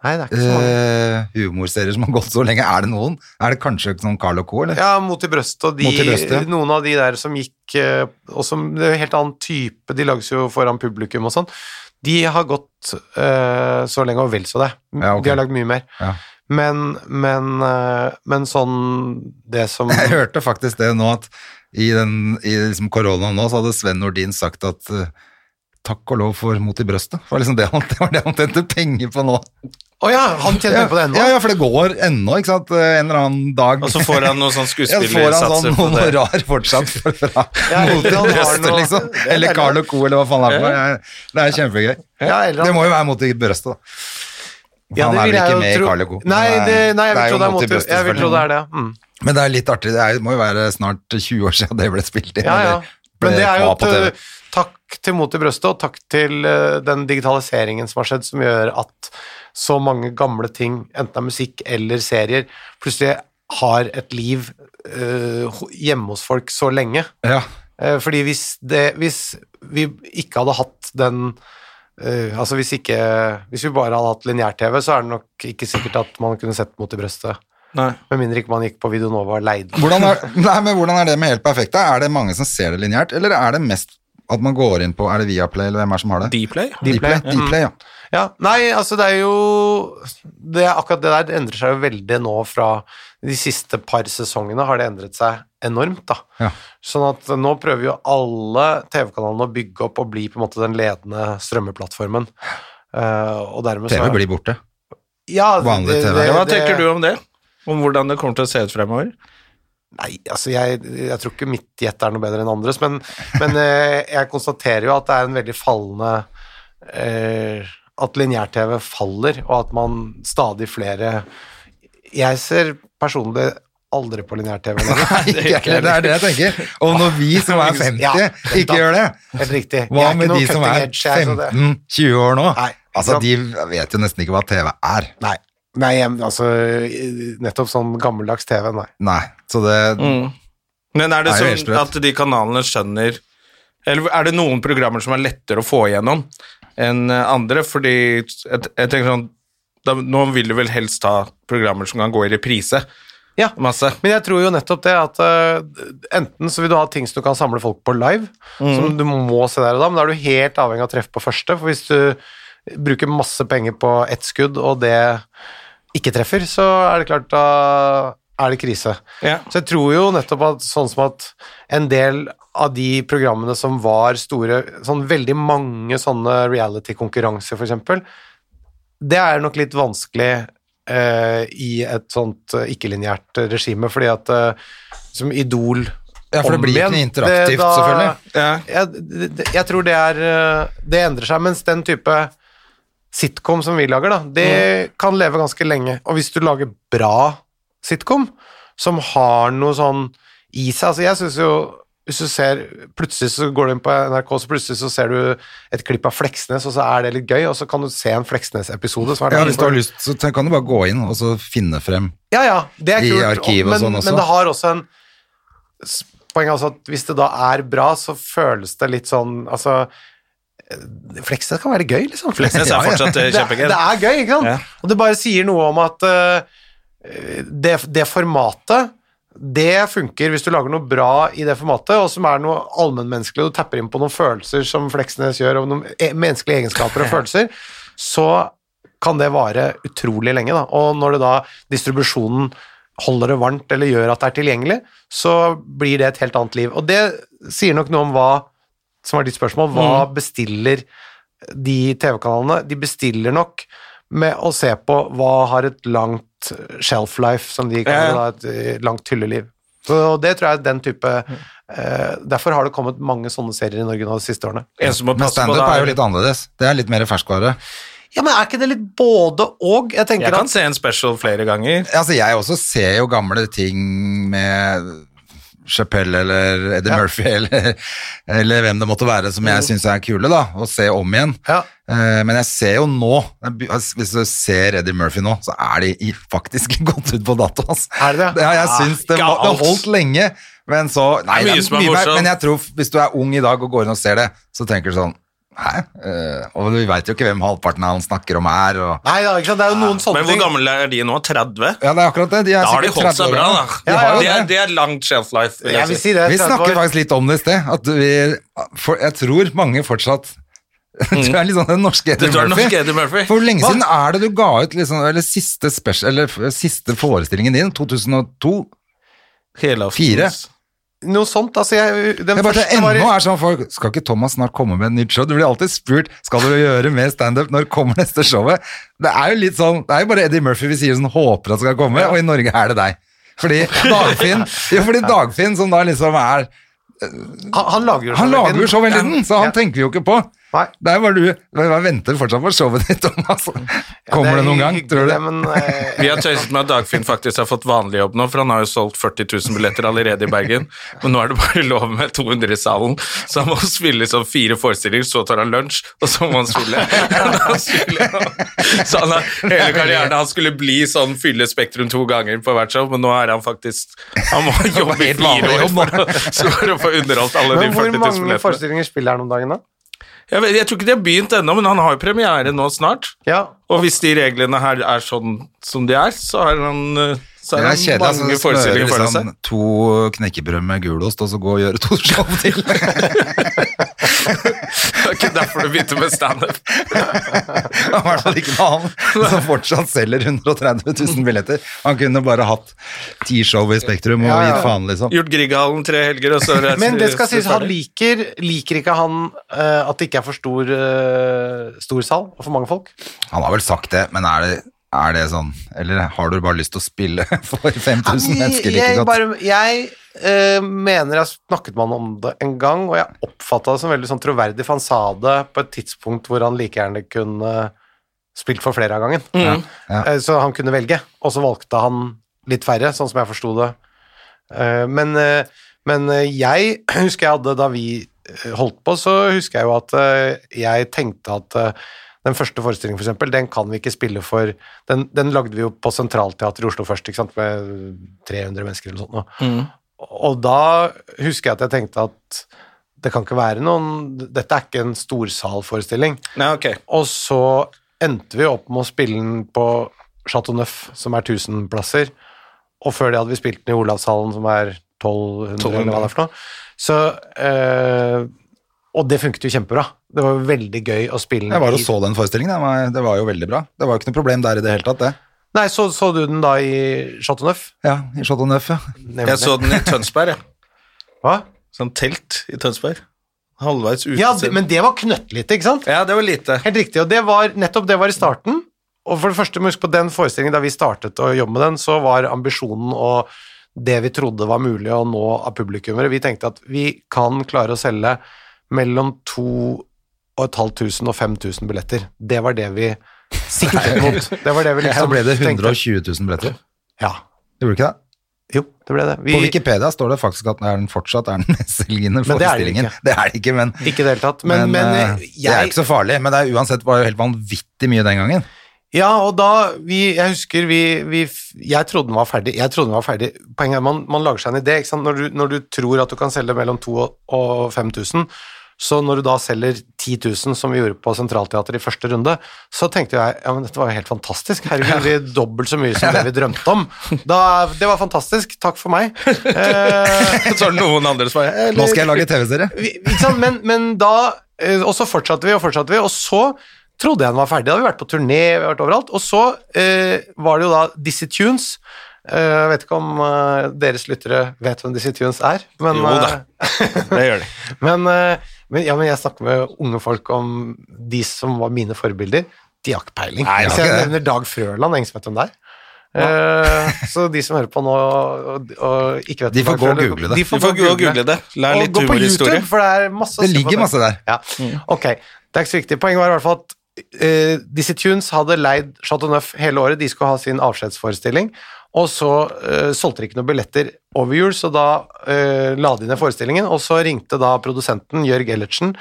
Nei, det er ikke så mange.
eh, humorserier som har gått så lenge. Er det noen? Er det kanskje sånn Carl og Co., eller?
Ja, Mot i brøstet og de,
Mot i brøstet, ja.
noen av de der som gikk eh, og som, Det er jo helt annen type, de lages jo foran publikum og sånn. De har gått eh, så lenge og vel så det.
Ja, ok.
De har lagd mye mer.
Ja.
Men, men, eh, men sånn Det som
Jeg hørte faktisk det nå at i, den, i liksom koronaen nå så hadde Sven Nordin sagt at eh, takk og lov for mot i brøstet. Det var liksom det han, det var det han tjente penger på nå.
Å ja, han tjener
Ja,
penger på det ennå?
ja, ja, for det går ennå, ikke sant. Eh, En eller annen dag.
Og så får han noen
Ja,
sånn
så får han
skuespillersatser
sånn
på det.
honorar fortsatt fra
Ja, eller
mot i
han har
brøstet,
noe-
liksom.
Det er
Eller
deilig.
Carl og Co, eller hva faen det er for noe. Det er kjempegøy.
Ja, eller han-
Det må jo være mot i brøstet, da.
Ja,
han
det
er
vil
vel
jeg
ikke
jo
med i
tro-
Carl og Co.
Nei,
men
det, nei jeg, vil
jo
tro det er
mot i
mot,
brøstet,
jeg vil tro
selvfølgelig.
det er det. ja. Mm.
Men det er litt artig. Det er, må jo være snart 20 år siden det ble spilt inn.
Ja, ja.
eller ble
Men det er jo
var på TV.
et, uh, takk til Mot i brøstet, og takk til uh, den digitaliseringen som har skjedd, som gjør at så mange gamle ting, enten det er musikk eller serier, plutselig har et liv uh, ho- hjemme hos folk så lenge.
Ja.
Eh, Fordi hvis, det, hvis vi ikke hadde hatt den eh, Altså hvis ikke Hvis vi bare hadde hatt lineær-TV, så er det nok ikke sikkert at man kunne sett mot i brøstet.
Nei.
Med mindre ikke man gikk på Videonova og leide.
Hvordan er, nei, men hvordan er det med Helt perfekt? da? Er det mange som ser det lineært, eller er det mest at man går inn på Er det Viaplay, eller hvem er det som har det?
Dplay?
Dplay, Dplay, ja.
Ja, nei, altså det er jo det, er Akkurat det der endrer seg jo veldig nå fra de siste par sesongene har det endret seg enormt, da.
Ja.
Sånn at nå prøver jo alle TV-kanalene å bygge opp og bli på en måte den ledende strømmeplattformen. Eh, og dermed så
TV blir borte.
ja,
vanlig TV.
Ja, hva tenker du om det? Om hvordan det kommer til å se ut fremover?
Nei, altså jeg, jeg tror ikke mitt gjett er noe bedre enn andres, men, men eh, jeg konstaterer jo at det er en veldig fallende eh, At lineær-TV faller, og at man stadig flere Jeg ser personlig aldri på lineær-TV lenger.
Ikke, heller, det er det jeg tenker. Og når vi som er 50,
Ja, vent da.
ikke gjør det
Helt riktig. Jeg
Hva
er ikke
med
noe
de som
cutting
er
edge, jeg, så det-
15-20 år nå?
Nei.
Altså, de vet jo nesten ikke hva TV er.
Nei. Nei, jeg- altså Nettopp sånn gammeldags TV, nei.
Nei, så det
Mm.
Men er det
Nei, det er helt
sånn
sprøtt.
at de kanalene skjønner Eller er det noen programmer som er lettere å få igjennom enn eh, andre? Fordi jeg, jeg tenker sånn da, Nå vil du vel helst ha programmer som kan gå i reprise.
Ja.
Masse.
Men jeg tror jo nettopp det at eh, enten så vil du ha ting som du kan samle folk på live, som du må se der og da, men da er du helt avhengig av treff på første, for hvis du bruker masse penger på ett skudd, og det ikke treffer, så er det klart da er det krise.
Ja.
Så jeg tror jo nettopp at sånn som at en del av de programmene som var store, sånn veldig mange sånne reality-konkurranser for eksempel, det er nok litt vanskelig eh, i et sånt eh, ikke-linjært regime, fordi at eh, som Idol
Ja, for det
om
blir ikke
igjen,
noe interaktivt,
det
selvfølgelig.
Ja.
Jeg, det- det- jeg tror det er eh, Det endrer seg, mens den type sitcom som vi lager, da, det kan leve ganske lenge. Og hvis du lager bra sitcom, som har noe sånn i seg altså Jeg syns jo hvis du ser, Plutselig så går du inn på NRK, så plutselig så ser du et klipp av Fleksnes, og så er det litt gøy, og så kan du se en Fleksnes-episode. som er
Ja,
der.
hvis du har lyst, så te- kan du bare gå inn og så finne frem.
Ja, ja, det er
I
kult.
arkivet og
men,
sånn også.
men det har også en s- poeng altså at hvis det da er bra, så føles det litt sånn Altså eh, Fleksnes kan være gøy, liksom.
Fleksnes er fortsatt eh,
Det,
kjempegøy.
det er gøy, ikke sant?
Ja.
Og det bare sier noe om at eh, det, det formatet det funker hvis du lager noe bra i det formatet, og som er noe allmennmenneskelig, og du tapper inn på noen følelser som Fleksnes gjør, og noen e- menneskelige egenskaper og følelser, så kan det vare utrolig lenge. Da. Og når det da distribusjonen holder det varmt eller gjør at det er tilgjengelig, så blir det et helt annet liv. Og det sier nok noe om hva som er ditt spørsmål, hva bestiller de TV-kanalene? De bestiller nok med å se på hva har et langt shelf life, som de kaller
Ja,
det, da, et eh, langt hylleliv. Så det tror jeg er den type eh, Derfor har det kommet mange sånne serier i Norge nå de siste årene.
En som må
Men
passe på
standup
det
er jo litt annerledes. Det er litt mer ferskvare.
Ja, men er ikke det litt både og? Jeg tenker
Jeg kan
at
se en special flere ganger.
Altså, jeg også ser jo gamle ting med Chappelle eller Eddie Murphy eller, eller hvem det måtte være som
Mm.
jeg syns er kule, da, og se om igjen.
Ja.
Eh, Men jeg ser jo nå jeg be- altså, Hvis du ser Eddie Murphy nå, så er de i- faktisk gått ut på dato. ass.
Er det det?
Ja, jeg syns det,
ikke
var- det
alt.
holdt lenge, men så Nei,
Ah, Det er mye
det er
som er
mye mer,
morsomt.
men jeg tror hvis du er ung i dag og går inn og ser det, så tenker du sånn Hæ? Eh, Og vi veit jo ikke hvem halvparten av han snakker om er. Og
Nei da, ikke sant? det er jo noen sånne
Men hvor
ting.
gamle er de nå? 30?
ja, det er akkurat det. De er
Da har de
sikkert
holdt
30
seg
år
bra, da.
gammel. De har jo
det,
det.
er, det er langt shelf life. vil jeg
Jeg vil
si.
si det.
Vi
30
snakket
år.
faktisk litt om det i sted. At vi, for, jeg tror mange fortsatt Du er litt sånn den norske Eddie
Mm. Du er den
Murphy.
norske Eddie Murphy.
For hvor lenge siden er det du ga ut liksom, eller siste, special, eller, f- siste forestillingen din? 2002?
Helaftens.
Fire.
Noe sånt. Altså, jeg, den
Jeg bare,
første var i-
ennå er sånn folk Skal ikke Thomas snart komme med et nytt show? Du blir alltid spurt Skal du gjøre mer standup. Når kommer neste showet? Det er jo litt sånn Det er jo bare Eddie Murphy vi sier sånn håper at skal komme, og i Norge er det deg. Fordi Dagfinn, jo, fordi Dagfinn som da liksom er
han, han lager jo
Han
sånne
lager jo
ting.
show hele tiden, så han
Ja.
tenker vi jo ikke på.
Nei.
Det er bare du Jeg venter fortsatt på showet ditt, Thomas. Kommer det,
er
noen gang,
hyggelig,
tror du
det,
det?
men, eh,
Vi har tøyset med at Dagfinn faktisk har fått vanlig jobb nå, for han har jo solgt 40 000 billetter allerede i Bergen. Men nå er det bare lov med 200 i salen, så han må spille sånn fire forestillinger, så tar han lunsj, og så må han spille. Da spiller han. Så han har, hele karrieren han skulle bli sånn fylle Spektrum to ganger på hvert show, men nå er han faktisk Han må jobbe i
helt
fire
vanlig
år
jobb,
for å, for å få underholdt alle de
men hvor
40 000
mange
billettene.
forestillinger spiller han om dagen, da?
Jeg, vet, jeg tror ikke de har begynt ennå, men han har jo premiere nå snart.
Ja.
Og hvis de reglene her er sånn som de er, så er han eh, så
Det
er
er
han
kjedelig. altså,
mange
det smører
forestillinger foran seg.
liksom to knekkebrød med gulost, og så gå og gjøre to show til.
Det er ikke derfor du begynte med standup.
I hvert fall ikke noe annet som fortsatt selger 130 000 billetter. Han kunne bare hatt ti show i Spektrum og
Ja, ja.
gitt faen, liksom.
Gjort Grieghallen tre helger, og så reiser-
Men det skal sies, han
ferdig.
liker, liker ikke han eh, at det ikke er for stor, eh, stor sal og for mange folk?
Han har vel sagt det, men er det, er det sånn Eller har du bare lyst til å spille for 5000 mennesker like
jeg
godt?
bare, jeg eh, mener jeg snakket med han om det en gang, og jeg oppfatta det som veldig sånn troverdig, for han sa det på et tidspunkt hvor han like gjerne kunne spilt for flere av gangen.
ja.
Eh, Så han kunne velge, og så valgte han litt færre, sånn som jeg forsto det. Eh, Men, eh, men eh, jeg husker jeg hadde, da vi eh, holdt på, så husker jeg jo at eh, jeg tenkte at eh, den første forestillingen, for eksempel, den kan vi ikke spille for Den, den lagde vi jo på Centralteatret i Oslo først, ikke sant, med 300 mennesker eller noe sånt. nå. Og da husker jeg at jeg tenkte at det kan ikke være noen Dette er ikke en storsalforestilling.
Nei, ok.
Og så endte vi opp med å spille den på Chateau Neuf, som er 1000 plasser. Og før det hadde vi spilt den i Olavshallen, som er 1200, eller hva det er for noe. Så eh, Og det funket jo kjempebra. Det var jo veldig gøy å spille den
Jeg var og
i-
så den forestillingen. Det var, det var jo veldig bra. Det var jo ikke noe problem der i det hele tatt, det.
Nei, så, så du den da i Chateau Neuf?
Ja, i Chateau Neuf, ja.
Nemlig.
Jeg så den i Tønsberg, jeg.
Hva?
Sånn telt i Tønsberg. Halvveis ute.
Ja, det- men det var knøttlite, ikke sant?
ja, det var lite.
Helt riktig, og det var, nettopp det var i starten. Og for det første, må huske på den forestillingen da vi startet å jobbe med den, så var ambisjonen og det vi trodde var mulig å nå av publikummere. Vi tenkte at vi kan klare å selge mellom 2500 og 5000 billetter. Det var det vi siktet mot. Det var det vi
Så
liksom
ble det
tenkte.
120 000 billetter.
Ja.
Gjorde det ikke det?
Jo, det ble det. Vi,
På Wikipedia står det faktisk at den er den fortsatt er den mestselgende
Men det er den
forestillingen. Det er det ikke, men,
ikke i det hele tatt. Men, men,
eh,
jeg,
det er jo ikke så farlig. Men det er uansett var jo helt vanvittig mye den gangen.
Ja, og da vi, Jeg husker vi, vi Jeg trodde den var ferdig. Jeg trodde den var ferdig. Poenget er man, man lager seg en idé. ikke sant? Når du, når du tror at du kan selge mellom 2000 og 5000, så når du da selger 10 000, som vi gjorde på Centralteatret i første runde, så tenkte jeg ja, men dette var jo helt fantastisk. Herregud, det er dobbelt så mye som det vi drømte om. Da, det var fantastisk. Takk for meg. Eh,
Så er det noen andre som bare
Nå skal jeg lage TV-serie.
vi, ikke sant? Men, men da eh, Og så fortsatte vi og fortsatte vi, og så trodde jeg den var ferdig. Da hadde vi vært på turné, vi hadde vært overalt. Og så eh, var det jo da Dizzie Tunes. Eh, jeg vet ikke om eh, deres lyttere vet hvem Dizzie Tunes er, men
Jo da.
eh,
Det gjør de.
men, eh, men, ja, men jeg snakker med unge folk om de som var mine forbilder. De har ikke peiling.
Nei, de har
Hvis jeg
ikke det.
nevner Dag Frøland, ingen som vet hvem det er. Eh, så de som hører på nå og, og ikke vet
De
hvem
får gå
Dag
og
Frøland-
google det.
De får
Vi får gå og google det. Lær litt
og gå på
humorhistorie. Mm.
YouTube, for det er masse å
Det
se
ligger
på
masse der.
Ja. Ok, det er ikke så viktig. Poenget var i hvert fall at eh, Dizzie Tunes hadde leid Chateau Neuf hele året, de skulle ha sin avskjedsforestilling, og så eh, solgte de ikke noen billetter over jul, så da eh, la de ned forestillingen, og så ringte da produsenten Jørg Ellertsen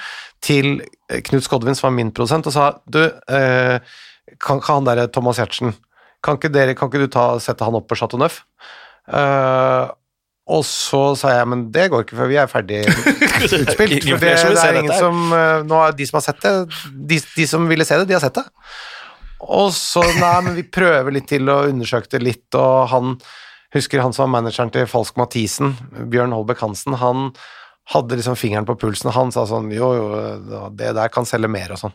til eh, Knut Skodvin, som var min produsent, og sa du, eh, kan ikke han derre Thomas Giertsen kan ikke, dere, kan ikke du ta, sette han opp på Chateau Neuf? Eh, og så sa jeg, men det går ikke før vi er ferdig utspilt.
Jo
For det,
flere som vil
det
se
er
dette
ingen
her.
som eh, Nå er de som har sett det, de, de som ville se det, de har sett det. Og så, nei, men vi prøver litt til og undersøkte litt, og han Husker han som var manageren til Falsk Mathisen, Bjørn Holbæk Hansen, han hadde liksom fingeren på pulsen, og han sa sånn Jo, jo, det der kan selge mer, og sånn.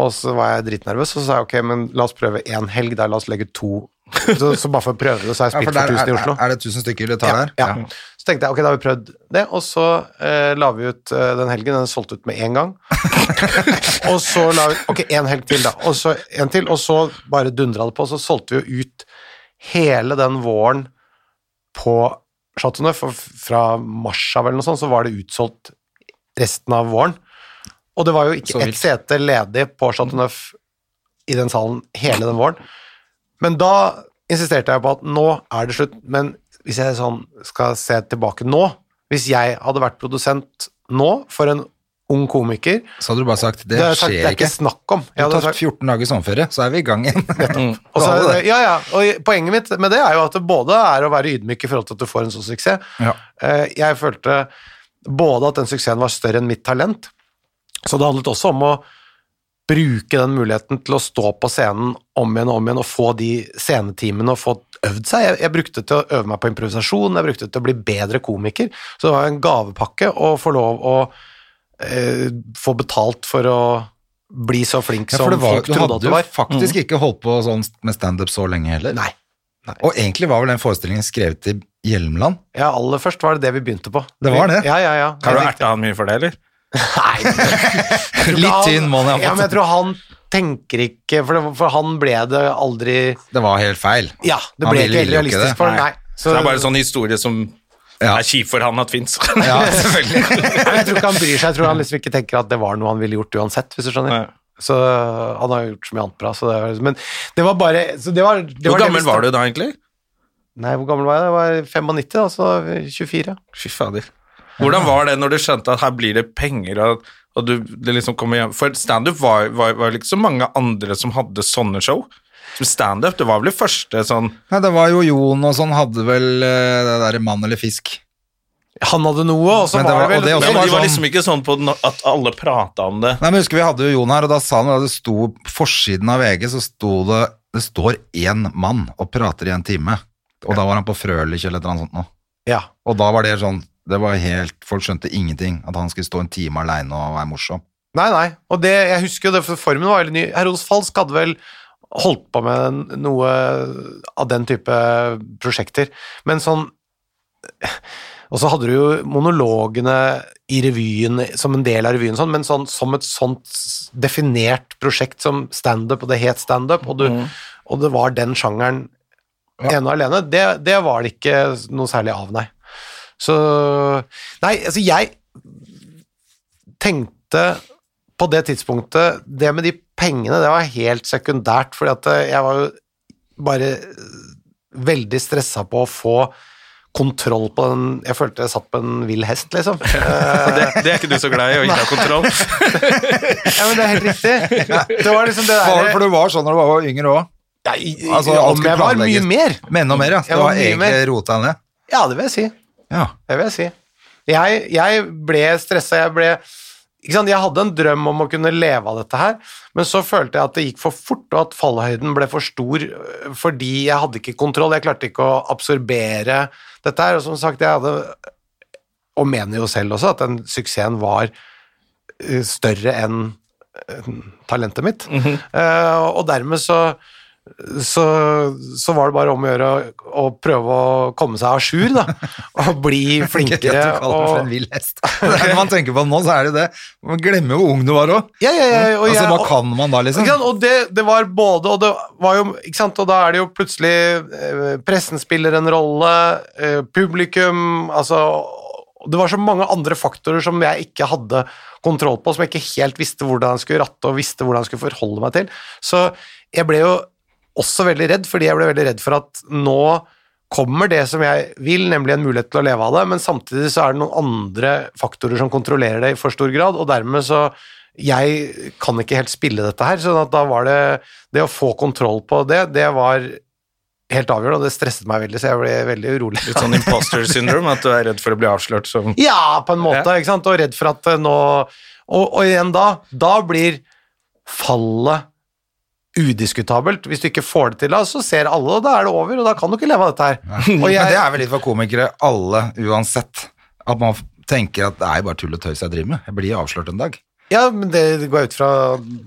Og så var jeg dritnervøs, og så sa jeg ok, men la oss prøve én helg der, la oss legge to. Så, så bare for å prøve det, så har
Ja,
jeg
for
spilt
der
for
er,
1000 i Oslo.
er det 1000 stykker du tar der?
Ja, ja. Så tenkte jeg ok, da har vi prøvd det, og så eh, la vi ut eh, den helgen. Den er solgt ut med én gang. og så la vi Ok, én helg til, da. Og så en til, og så bare dundra det på. Så solgte vi jo ut hele den våren på Chateau Neuf, og fra mars av eller noe sånt, så var det utsolgt resten av våren. Og det var jo ikke ett sete ledig på Chateau Neuf i den salen hele den våren. Men da insisterte jeg på at nå er det slutt, men hvis jeg sånn skal se tilbake nå, hvis jeg hadde vært produsent nå for en ung komiker,
Så hadde du bare sagt det,
det, er, det
skjer
er ikke
ikke.
snakk om.
Du
Jeg hadde
tar
sagt,
14 dager sommerferie, så er vi i gang igjen.
og så er
Alle
det, ja, ja, og poenget mitt med det er jo at det både er å være ydmyk i forhold til at du får en sånn suksess.
Ja.
Eh, Jeg følte både at den suksessen var større enn mitt talent, så det handlet også om å bruke den muligheten til å stå på scenen om igjen og om igjen og få de scenetimene og få øvd seg. Jeg, jeg brukte det til å øve meg på improvisasjon, jeg brukte det til å bli bedre komiker, så det var en gavepakke å få lov å eh, få betalt for å bli så flink
Ja,
som
for det var,
folk
du
trodde at
hadde
du
jo
var. Mm.
faktisk ikke holdt på sånn med standup så lenge heller.
Nei.
Og egentlig var vel den forestillingen skrevet i Hjelmland.
Ja, aller først var det det vi begynte på.
Det var det?
Ja, ja, ja.
Har du erta han mye for det, eller?
Litt tynn må den ha
ja, men jeg
fått.
tror han tenker ikke For, det, for han ble det aldri
Det var helt feil.
Ja, det
Han
ble
ville jo
ikke helt
ikke det.
realistisk for ham, nei.
Så, det er bare en sånn historie som
Ja.
er kjip for han at fins.
Ja, selvfølgelig.
Nei, jeg tror ikke han bryr seg. Jeg tror han liksom ikke tenker at det var noe han ville gjort uansett, hvis du skjønner.
Nei.
Så han har jo gjort så mye annet bra, så det var Men det var bare så det var, det
Hvor
var det vi
gammel var du da, egentlig?
Nei, hvor gammel var jeg? Jeg var 95, altså 24.
Fy fader. Hvordan var det når du skjønte at her blir det penger, og, og du det liksom kommer hjem For standup var, var, var liksom mange andre som hadde sånne show. Som standup, det var vel det første sånn
Nei, det var jo Jon og sånn hadde vel eh, det derre mann eller fisk.
Han hadde noe, og så
Men det
var
var-
det
og det
vel
også
Men
var
de var
sånn-
liksom ikke sånn på den, at alle prata om det.
Nei, men husker Vi hadde jo Jon her, og da sa han da det sto på forsiden av VG, så sto det det står én mann og prater i en time. Og da var han på Frølich eller et eller annet sånt nå.
Ja.
Og da var det sånn Det var helt, Folk skjønte ingenting. At han skulle stå en time aleine og være morsom.
Nei, nei. Og det, jeg husker jo det, for formen var veldig ny. Herodes Falsk hadde vel holdt på med noe av den type prosjekter. Men sånn Og så hadde du jo monologene i revyen som en del av revyen, sånn, men sånn, som et sånt definert prosjekt som standup, og det het standup, og, du- og det var den sjangeren ene og alene, det, det var det ikke noe særlig av, nei. Så Nei, altså, jeg tenkte på det tidspunktet Det med de pengene, det var helt sekundært, fordi at eh, jeg var jo bare eh, veldig stressa på å få kontroll på den Jeg følte jeg satt på en vill hest, liksom. Eh,
Det, det er ikke du så glad i, å ikke ha kontroll.
ja, men det er helt riktig. Det var liksom det
Var det
der
for du var sånn da du var yngre òg?
Nei, i-
Altså, alt
Om
skulle
jeg var mye
planlegges.
mer?
Men enda mer, ja.
Jeg
Det
var
var
mye
egentlig rota ned.
Ja, det vil jeg si.
Ja.
Det vil jeg si. Jeg, jeg ble stressa, jeg ble ikke sant? Jeg hadde en drøm om å kunne leve av dette her, men så følte jeg at det gikk for fort, og at fallhøyden ble for stor øh, fordi jeg hadde ikke kontroll. Jeg klarte ikke å absorbere dette her. Og som sagt, jeg hadde, øh, og mener jo selv også, at den suksessen var øh, større enn øh, talentet mitt.
Mhm.
Eh, og dermed så så, så var det bare om å gjøre å, å prøve å komme seg à jour, da. Og bli
Ikke at
flinkere.
du kaller meg for en
Og,
vill hest. Når man tenker på det nå, så er det det. Man glemmer jo hvor ung du var òg.
ja, ja, ja, Eh, og
Altså,
jeg-
hva kan man da, liksom?
Ikke sant? Og det, det var både Og det var jo Ikke sant? Og da er det jo plutselig eh, Pressen spiller en rolle, eh, publikum Altså Det var så mange andre faktorer som jeg ikke hadde kontroll på, som jeg ikke helt visste hvordan jeg skulle ratte og visste hvordan jeg skulle forholde meg til. Så jeg ble jo også veldig redd, fordi jeg ble veldig redd for at nå kommer det som jeg vil, nemlig en mulighet til å leve av det, men samtidig så er det noen andre faktorer som kontrollerer det i for stor grad, og dermed så jeg kan ikke helt spille dette her, sånn at da var det det å få kontroll på det, det var helt avgjørende, og det stresset meg veldig, så jeg ble veldig urolig.
Litt sånn imposter syndrome, at du er redd for å bli avslørt som
Ja, på en måte, ikke sant? Og redd for at eh, nå Og, og igjen da, da blir fallet udiskutabelt. Hvis du ikke får det til, da, så ser alle, og da er det over, og da kan du ikke leve av dette her. Og
Men det
jeg,
er vel litt for komikere, alle uansett. At man tenker at det er jo bare tull og tøys jeg driver med. Jeg blir avslørt en dag.
ja, men det går jeg ut fra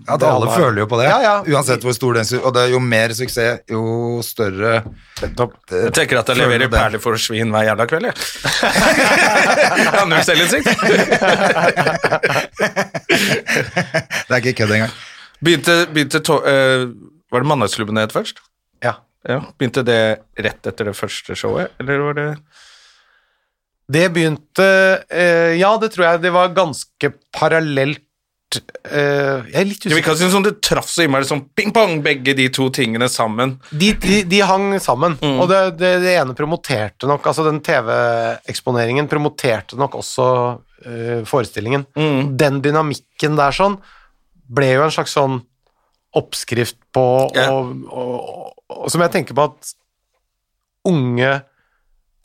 At
det
alle føler jo på det.
Ja, ja.
Uansett hvor stor den su- Og det er jo mer suksess, jo større
Jeg tenker at jeg
Føler du
leverer
det?
perler for svin hver jævla kveld, jeg. jeg har null selvinnsikt.
Det er ikke kødd engang.
Begynte, begynte to, eh, Var det Mandagsklubben det het først?
Ja.
Ja. Begynte det rett etter det første showet, eller var det
Det begynte eh, Ja, det tror jeg. Det var ganske parallelt eh, Jeg er litt
Jeg vil ikke
usikker.
si sånn det traff så innmari sånn ping-pong, begge de to tingene sammen.
De, de, de hang sammen, og det, det, det ene promoterte nok Altså den TV-eksponeringen promoterte nok også eh, forestillingen. Den dynamikken der sånn ble jo en slags sånn oppskrift på
Ja.
og, og, og, Som jeg tenker på at unge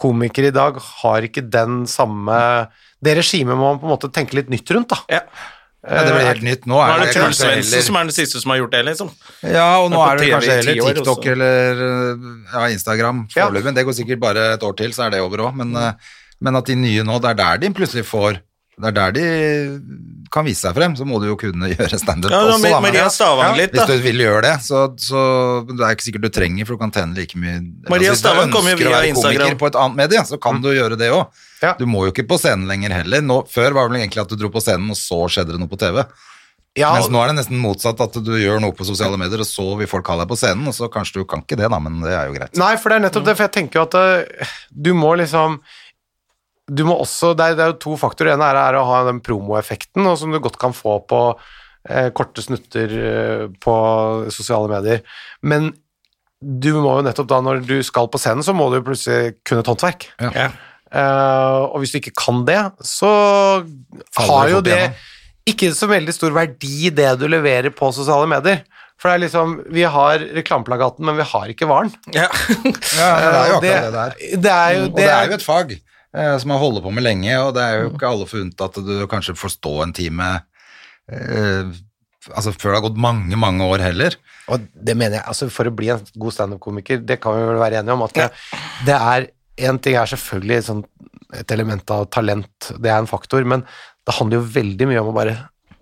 komikere i dag har ikke den samme Det regimet må man på en måte tenke litt nytt rundt, da.
Ja.
Ja, det blir helt
Eh,
nytt. Nå
Nå
er,
er det Truls
kanskje
Svendsen
heller-
som er den siste som har gjort det, liksom.
Ja, og nå
Nå er
er det
på
kanskje
TV i ti
heller
år
TikTok
også.
eller øh, ja, Instagram
Ja.
foreløpig. men Det går sikkert bare et år til, så er det over òg.
Mm.
Men, øh, men at de nye nå, det er der de plutselig får Det er der de kan vise seg frem. Så må du jo kunne gjøre standup
Ja, da,
også, da. men-
Maria Stavang litt, da.
Hvis du vil gjøre det, så, så men det er ikke sikkert du trenger, for du kan tjene like mye eller,
Maria
altså,
Stavang kommer jo
Hvis du ønsker å
via
være
Instagram. Mm.
komiker på et annet medie, så kan du gjøre det òg.
Ja.
Du må jo ikke på scenen lenger heller. Nå, før var det vel egentlig at du dro på scenen, og så skjedde det noe på TV.
Eh, Ja,
Mens nå er det nesten motsatt, at du gjør noe på sosiale medier, og så vil folk ha deg på scenen, og så kanskje du kan ikke det, da, men det er jo greit.
Nei, for det er nettopp det, for jeg tenker jo at eh, du må liksom Du må også Det er, det er jo to faktorer. Den ene er å ha den promoeffekten, og som du godt kan få på eh, korte snutter eh, på sosiale medier. Men du må jo nettopp da, når du skal på scenen, så må du jo plutselig kunne et håndverk.
Ja.
Eh, og hvis du ikke kan det, så
Faller
har
det
jo
fort
det
igjennom.
ikke så veldig stor verdi, det du leverer på sosiale medier. For det er liksom Vi har reklameplakaten, men vi har ikke varen.
Ja.
det er jo akkurat det
Eh,
det er.
det er jo,
Og det er jo et fag eh, som man holder på med lenge, og det er jo ikke alle forunt at du kanskje får stå en time eh, Altså før det har gått mange, mange år heller.
Og det mener jeg, altså for å bli en god standup-komiker, det kan vi vel være enige om, at det, det er En ting er selvfølgelig sånn, et element av talent, det er en faktor, men det handler jo veldig mye om å bare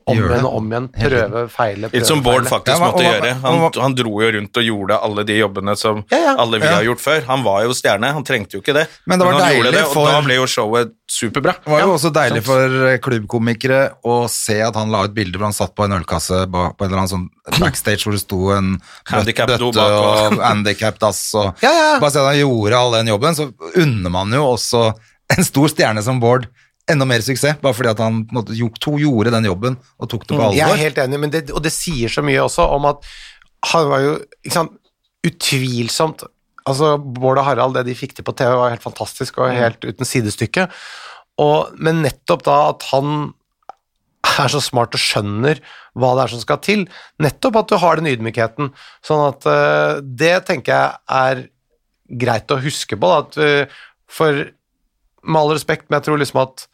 om
Gjør det.
igjen og om igjen, prøve, feile, prøve,
Litt som Bård
feile.
faktisk
Ja, hva-
måtte
hva-
gjøre. Han, han dro jo rundt og gjorde alle de jobbene som
Ja, ja.
alle vi
Ja.
har gjort før. Han var jo stjerne, han trengte jo ikke det.
Men det var
han gjorde
deilig
det, og
for-
da ble jo showet superbra.
Det var jo også deilig for eh, klubbkomikere å se at han la ut bilder hvor han satt på en ølkasse ba- på en eller annen sånn backstage hvor det sto en bøt-
Handicap-do
bøtte
bak
og
og-
handikapdass og
Ja, ja.
Bare se at han gjorde all den jobben, så unner man jo også en stor stjerne som Bård enda mer suksess, bare fordi at han på en måte, jo- to gjorde den jobben og tok det på
Jeg er
alvor.
helt enig, men det, og det sier så mye også om at han var jo ikke sant, utvilsomt altså Bård og Harald, det de fikk til på TV, var helt fantastisk og helt uten sidestykke. Og, men nettopp da at han er så smart og skjønner hva det er som skal til, nettopp at du har den ydmykheten. Sånn at eh, det tenker jeg er greit å huske på. Da, at, eh, for med all respekt, men jeg tror liksom at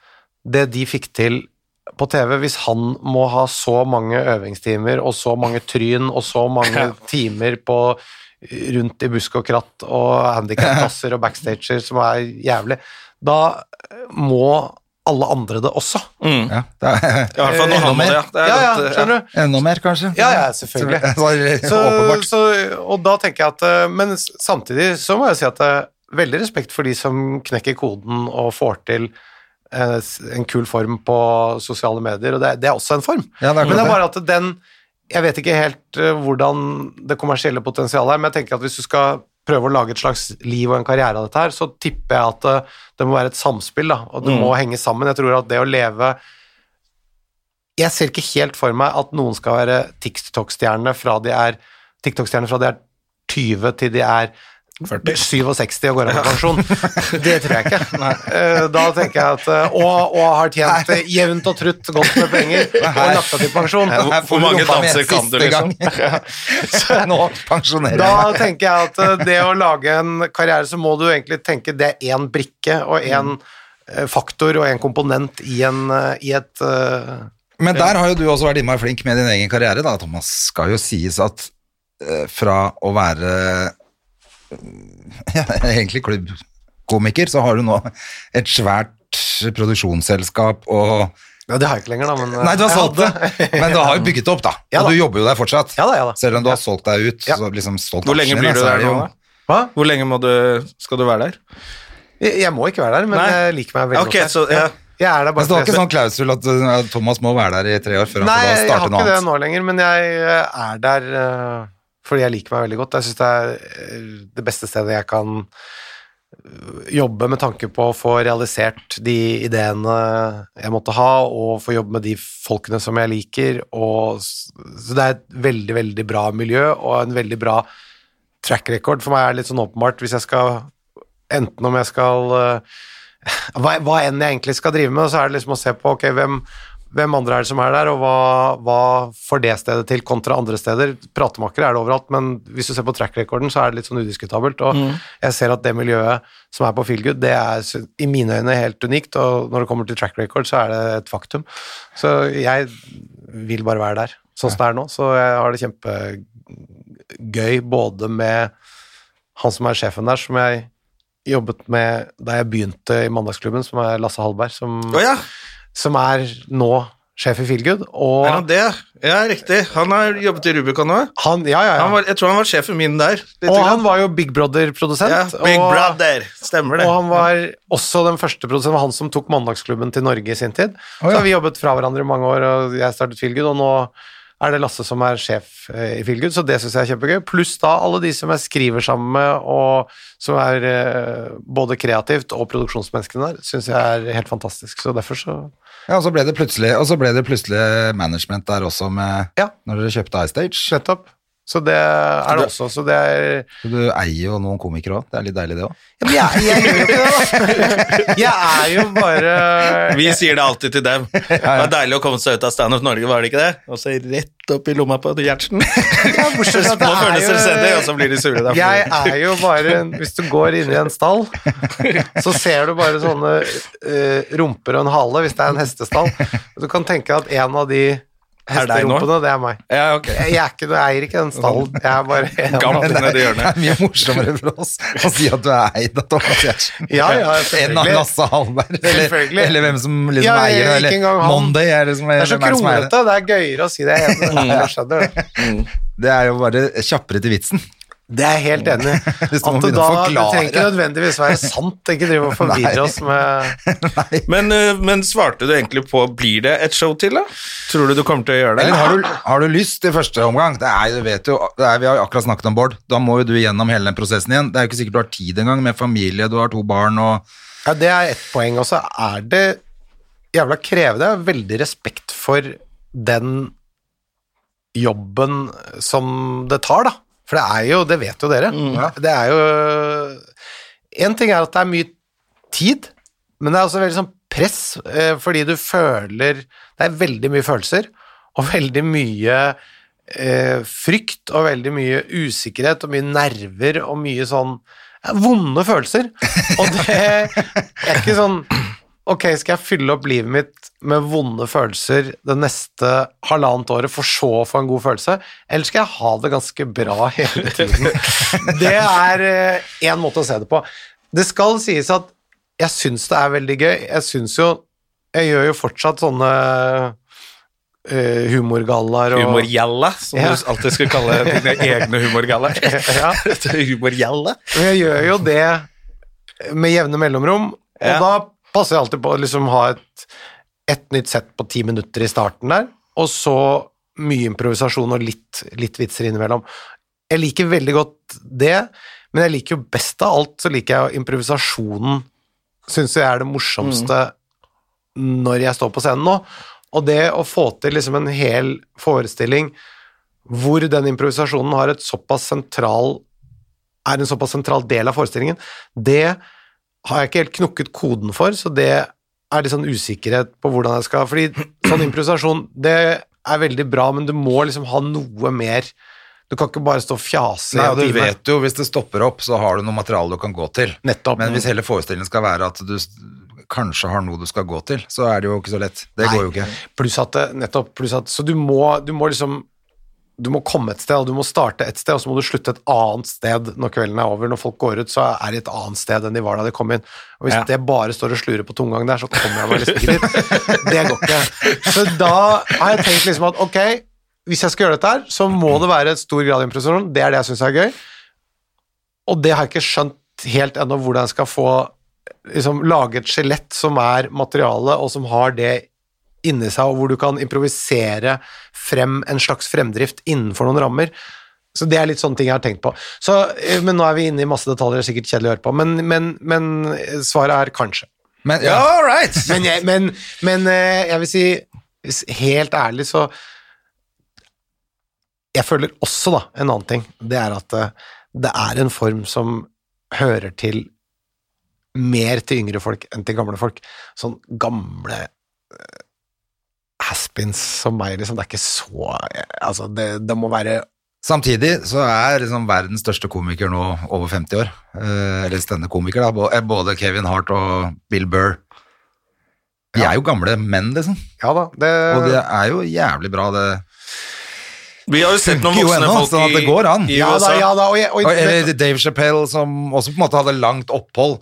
det de fikk til på TV, hvis han må ha så mange øvingstimer og så mange tryn og så mange timer på rundt i busk og kratt og handikapklasser og backstager som er jævlig, da må alle andre det også.
Ja, det er,
I hvert fall når han må det. ja. det er
Ja, ja,
godt, eh,
skjønner du?
enda mer, kanskje?
Ja, ja, selvfølgelig.
Så,
Så,
åpenbart.
så, og da tenker jeg at eh, Men s- samtidig så må jeg si at det er veldig respekt for de som knekker koden og får til eh, s- en kul form på sosiale medier, og det er, det er også en form.
Ja, det er akkurat
men det
det.
er bare at den Jeg vet ikke helt eh, hvordan det kommersielle potensialet er, men jeg tenker at hvis du skal prøve å lage et slags liv og en karriere av dette her, så tipper jeg at eh, det må være et samspill, da, og
Mm.
det må henge sammen. Jeg tror at det å leve jeg ser ikke helt for meg at noen skal være TikTok-stjerne fra de er TikTok-stjerne fra de er 20 til de er 67 og går av med pensjon. Det tror jeg ikke. Eh, Da tenker jeg at eh, Og, og har tjent eh, jevnt og trutt godt med penger og lagt av til pensjon.
Her
Hvor
får du
mange
rumpa med
danser kan du,
siste gang. Nå pensjonerer
Da
jeg meg.
tenker jeg at eh, det å lage en karriere, så må du egentlig tenke det er én brikke og én faktor og én komponent i, en, eh, i et eh,
Men der har jo du også vært innmari flink med din egen karriere, da, Thomas. Skal jo sies at eh, fra å være eh, ja, egentlig klubbkomiker, så har du nå et svært produksjonsselskap og
Ja, det har jeg ikke lenger, da, men eh,
Nei, du har
jeg
solgt
hadde-
det, men du har jo bygget det opp, da.
Ja da.
Og du jobber jo der fortsatt.
Ja da, ja da.
Selv om du har solgt deg ut.
Ja.
Så liksom solgt
Hvor lenge
aksjene,
blir du
så er
der
det
nå,
jo-
da?
Hva?
Hvor lenge må du, skal du være der?
Jeg jeg må ikke være der, men
Nei.
jeg liker meg veldig
Ok,
godt.
så,
der.
ja.
Jeg er der
Men
bare
så det var
for
ikke
det.
sånn klausul at eh, Thomas må være der i tre år før han
Nei,
får lov å
jeg har
starte noe
ikke det
annet?
nå lenger, men jeg eh, er der eh, fordi jeg liker meg veldig godt. Jeg syns det er eh, det beste stedet jeg kan eh, jobbe med tanke på å få realisert de ideene jeg måtte ha, og få jobbe med de folkene som jeg liker. Og, s- så det er et veldig, veldig bra miljø og en veldig bra track record. For meg er det litt sånn åpenbart hvis jeg skal Enten om jeg skal eh, hva, hva enn jeg egentlig skal drive med, så er det liksom å se på ok, hvem, hvem andre er det som er der, og hva, hva får det stedet til kontra andre steder. Pratemakere er det overalt, men hvis du ser på track-rekorden, så er det litt sånn udiskutabelt. Og jeg ser at det miljøet som er på Feelgood, det er sy- i mine øyne helt unikt, og når det kommer til track-record, så er det et faktum. Så jeg vil bare være der, sånn som det er nå. Så jeg har det kjempegøy både med han som er sjefen der, som jeg jobbet med da jeg begynte i Mandagsklubben, som er Lasse Hallberg, som,
Å ja,
som er nå sjef i Feelgood. Og
er han det? Ja, riktig. Han har jobbet i Rubicon nå.
han, ja, ja, ja.
Han var, jeg tror han var sjefen min der. lite
og
grann.
han var jo Big Brother-produsent.
ja, Big
og-
Brother, stemmer det.
Og han var også den første produsenten, han som tok Mandagsklubben til Norge i sin tid.
Å, ja.
Så har vi jobbet fra hverandre i mange år, og jeg startet Feelgood, og nå er det Lasse som er sjef eh, i Feelgood, så det syns jeg er kjempegøy. Pluss da alle de som jeg skriver sammen med, og som er eh, både kreativt og produksjonsmenneskene der, syns jeg er helt fantastisk. Så derfor så
Ja, og så ble det plutselig, og så ble det plutselig management der også med,
Ja.
når dere kjøpte iStage.
Nettopp. Så det er det også. Så det er
Så du eier jo noen komikere òg, det er litt deilig det òg.
Jeg, gjør jo ikke det, da! Jeg er jo bare
Vi sier det alltid til dem. Det var deilig å komme seg ut av Stand Up Norge, var det ikke det? Og så rett opp i lomma på Gjertsen.
Ja, bortsett fra at
Må føle seg
det er
selvstendig,
jo-
og så blir de sure. derfor.
Jeg er jo bare en- Hvis du går inn i en stall, så ser du bare sånne eh, rumper og en hale, hvis det er en hestestall. Du kan tenke at en av de
Er det deg nå?
Hesterumpene, det er meg.
Ja, ok.
Jeg, jeg, er ikke, jeg eier ikke den stallen. Jeg er bare
Gammel.
Men det,
nede i
er, det
hjørnet.
er mye morsommere for oss å si at du er eid av Thomas Giertsen
Ja, ja,
enn av
selvfølgelig.
Lasse Hallberg, eller,
Selvfølgelig.
eller hvem som liksom
Ja, jeg-
eier
ikke
eller
engang han.
Monday. Er liksom,
Det er så
hvem som eier
kronglete. Det er gøyere å si det. Jeg, jeg skjønner det.
det. Det er jo bare kjappere til vitsen.
Det er jeg helt enig i. At
Hvis
det
du må
da, det
begynne å forklare.
trenger ikke nødvendigvis være sant. Ikke drive og
Nei.
forvirre oss med
Men, eh, men svarte du egentlig på Blir det et show til, da? Tror du du kommer til å gjøre det?
Eller har du, har du lyst i første omgang? Det er, jo- du vet jo, det er, vi har jo akkurat snakket om Bård. Da må jo du gjennom hele den prosessen igjen. Det er jo ikke sikkert du har tid engang med familie, du har to barn og
ja, Det er ett poeng. Og så er det jævla krevende. Jeg har veldig respekt for den jobben som det tar, da. For det er jo Det vet jo dere. Det er jo En ting er at det er mye tid, men det er også veldig sånn press, eh, fordi du føler Det er veldig mye følelser, og veldig mye eh, frykt, og veldig mye usikkerhet, og mye nerver, og mye sånn ja, Vonde følelser. Og det er ikke sånn Ok, skal jeg fylle opp livet mitt med vonde følelser det neste halvannet året, for så å få en god følelse, eller skal jeg ha det ganske bra hele tiden? Det er én måte å se det på. Det skal sies at jeg syns det er veldig gøy. Jeg syns jo Jeg gjør jo fortsatt sånne eh, humorgallaer og
Humorgjalla, som
Ja.
du alltid skulle kalle dine egne humorgallaer.
Ja.
Humorgjalla?
Men jeg gjør jo det med jevne mellomrom, og
Ja.
da passer jeg alltid på å liksom ha et, et nytt sett på ti minutter i starten der, og så mye improvisasjon og litt, litt vitser innimellom. Jeg liker veldig godt det, men jeg liker jo best av alt, så liker jeg jo improvisasjonen, synes jeg er det morsomste når jeg står på scenen nå, og det å få til liksom en hel forestilling hvor den improvisasjonen har et såpass sentral er en såpass sentral del av forestillingen, det har jeg ikke helt knukket koden for, så det er litt sånn usikkerhet på hvordan jeg skal Fordi sånn improvisasjon, det er veldig bra, men du må liksom ha noe mer. Du kan ikke bare stå og fjase
Nei,
i
og
en
du
time.
vet jo, hvis det stopper opp, så har du noe materiale du kan gå til.
Nettopp.
Men hvis hele forestillingen skal være at du s- kanskje har noe du skal gå til, så er det jo ikke så lett. Det går jo ikke.
Pluss at det, nettopp, pluss at, Så du må, du må liksom Du må komme et sted, og du må starte et sted, og så må du slutte et annet sted når kvelden er over. Når folk går ut, så er de et annet sted enn de var da de kom inn. Og hvis
Ja.
det bare står og slurer på tomgang der, så kommer jeg meg liksom ikke dit. Det går ikke. Så da har jeg tenkt liksom at ok, hvis jeg skal gjøre dette her, så må det være et stor grad av improvisasjon. Det er det jeg syns er gøy. Og det har jeg ikke skjønt helt ennå hvordan jeg skal få liksom, lage et skjelett som er materiale, og som har det inni seg, og hvor du kan improvisere frem en slags fremdrift innenfor noen rammer. Så det er litt sånne ting jeg har tenkt på. Så, eh, men nå er vi inne i masse detaljer, det er sikkert kjedelig å høre på, men, men, men eh, svaret er kanskje.
Men, ja, all right!
Men jeg, men, men eh, jeg vil si, s- helt ærlig, så Jeg føler også, da, en annen ting. Det er at eh, det er en form som hører til mer til yngre folk enn til gamle folk. Sånn gamle eh, Haspins som meg, liksom. Det er ikke så eh, Altså, det, det må være
Samtidig så er liksom verdens største komiker nå over 50 år. Eh, eller standup-komiker, da. Bo- eh, Både Kevin Hart og Bill Burr. De er jo gamle menn, liksom.
Ja da, det
Og det er jo jævlig bra, det.
Vi har jo sett noen
Funker jo
voksne
ennå,
folk
sånn at
i,
det går an.
i
Ja da,
USA.
ja da, og, jeg, og,
Og, eller Dave Chappelle, som også på en måte hadde langt opphold.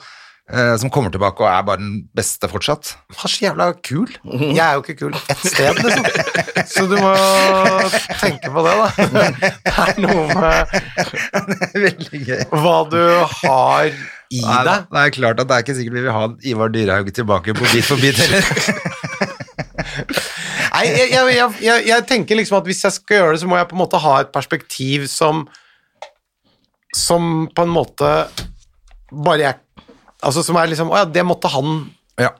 eh, Som kommer tilbake og er bare den beste fortsatt.
Han er så jævla kul. Jeg er jo ikke kul ett sted, liksom. Så du må tenke på det, da. Det er noe med
Veldig gøy.
hva du har i
Nei,
deg.
det er klart at det er ikke sikkert vi vil ha Ivar Dyrhaug tilbake på Bit for bit heller.
Nei, jeg, jeg, jeg, jeg, jeg tenker liksom at hvis jeg skal gjøre det, så må jeg på en måte ha et perspektiv som Som på en måte bare jeg Altså som er liksom Å ja, det måtte han
Ja.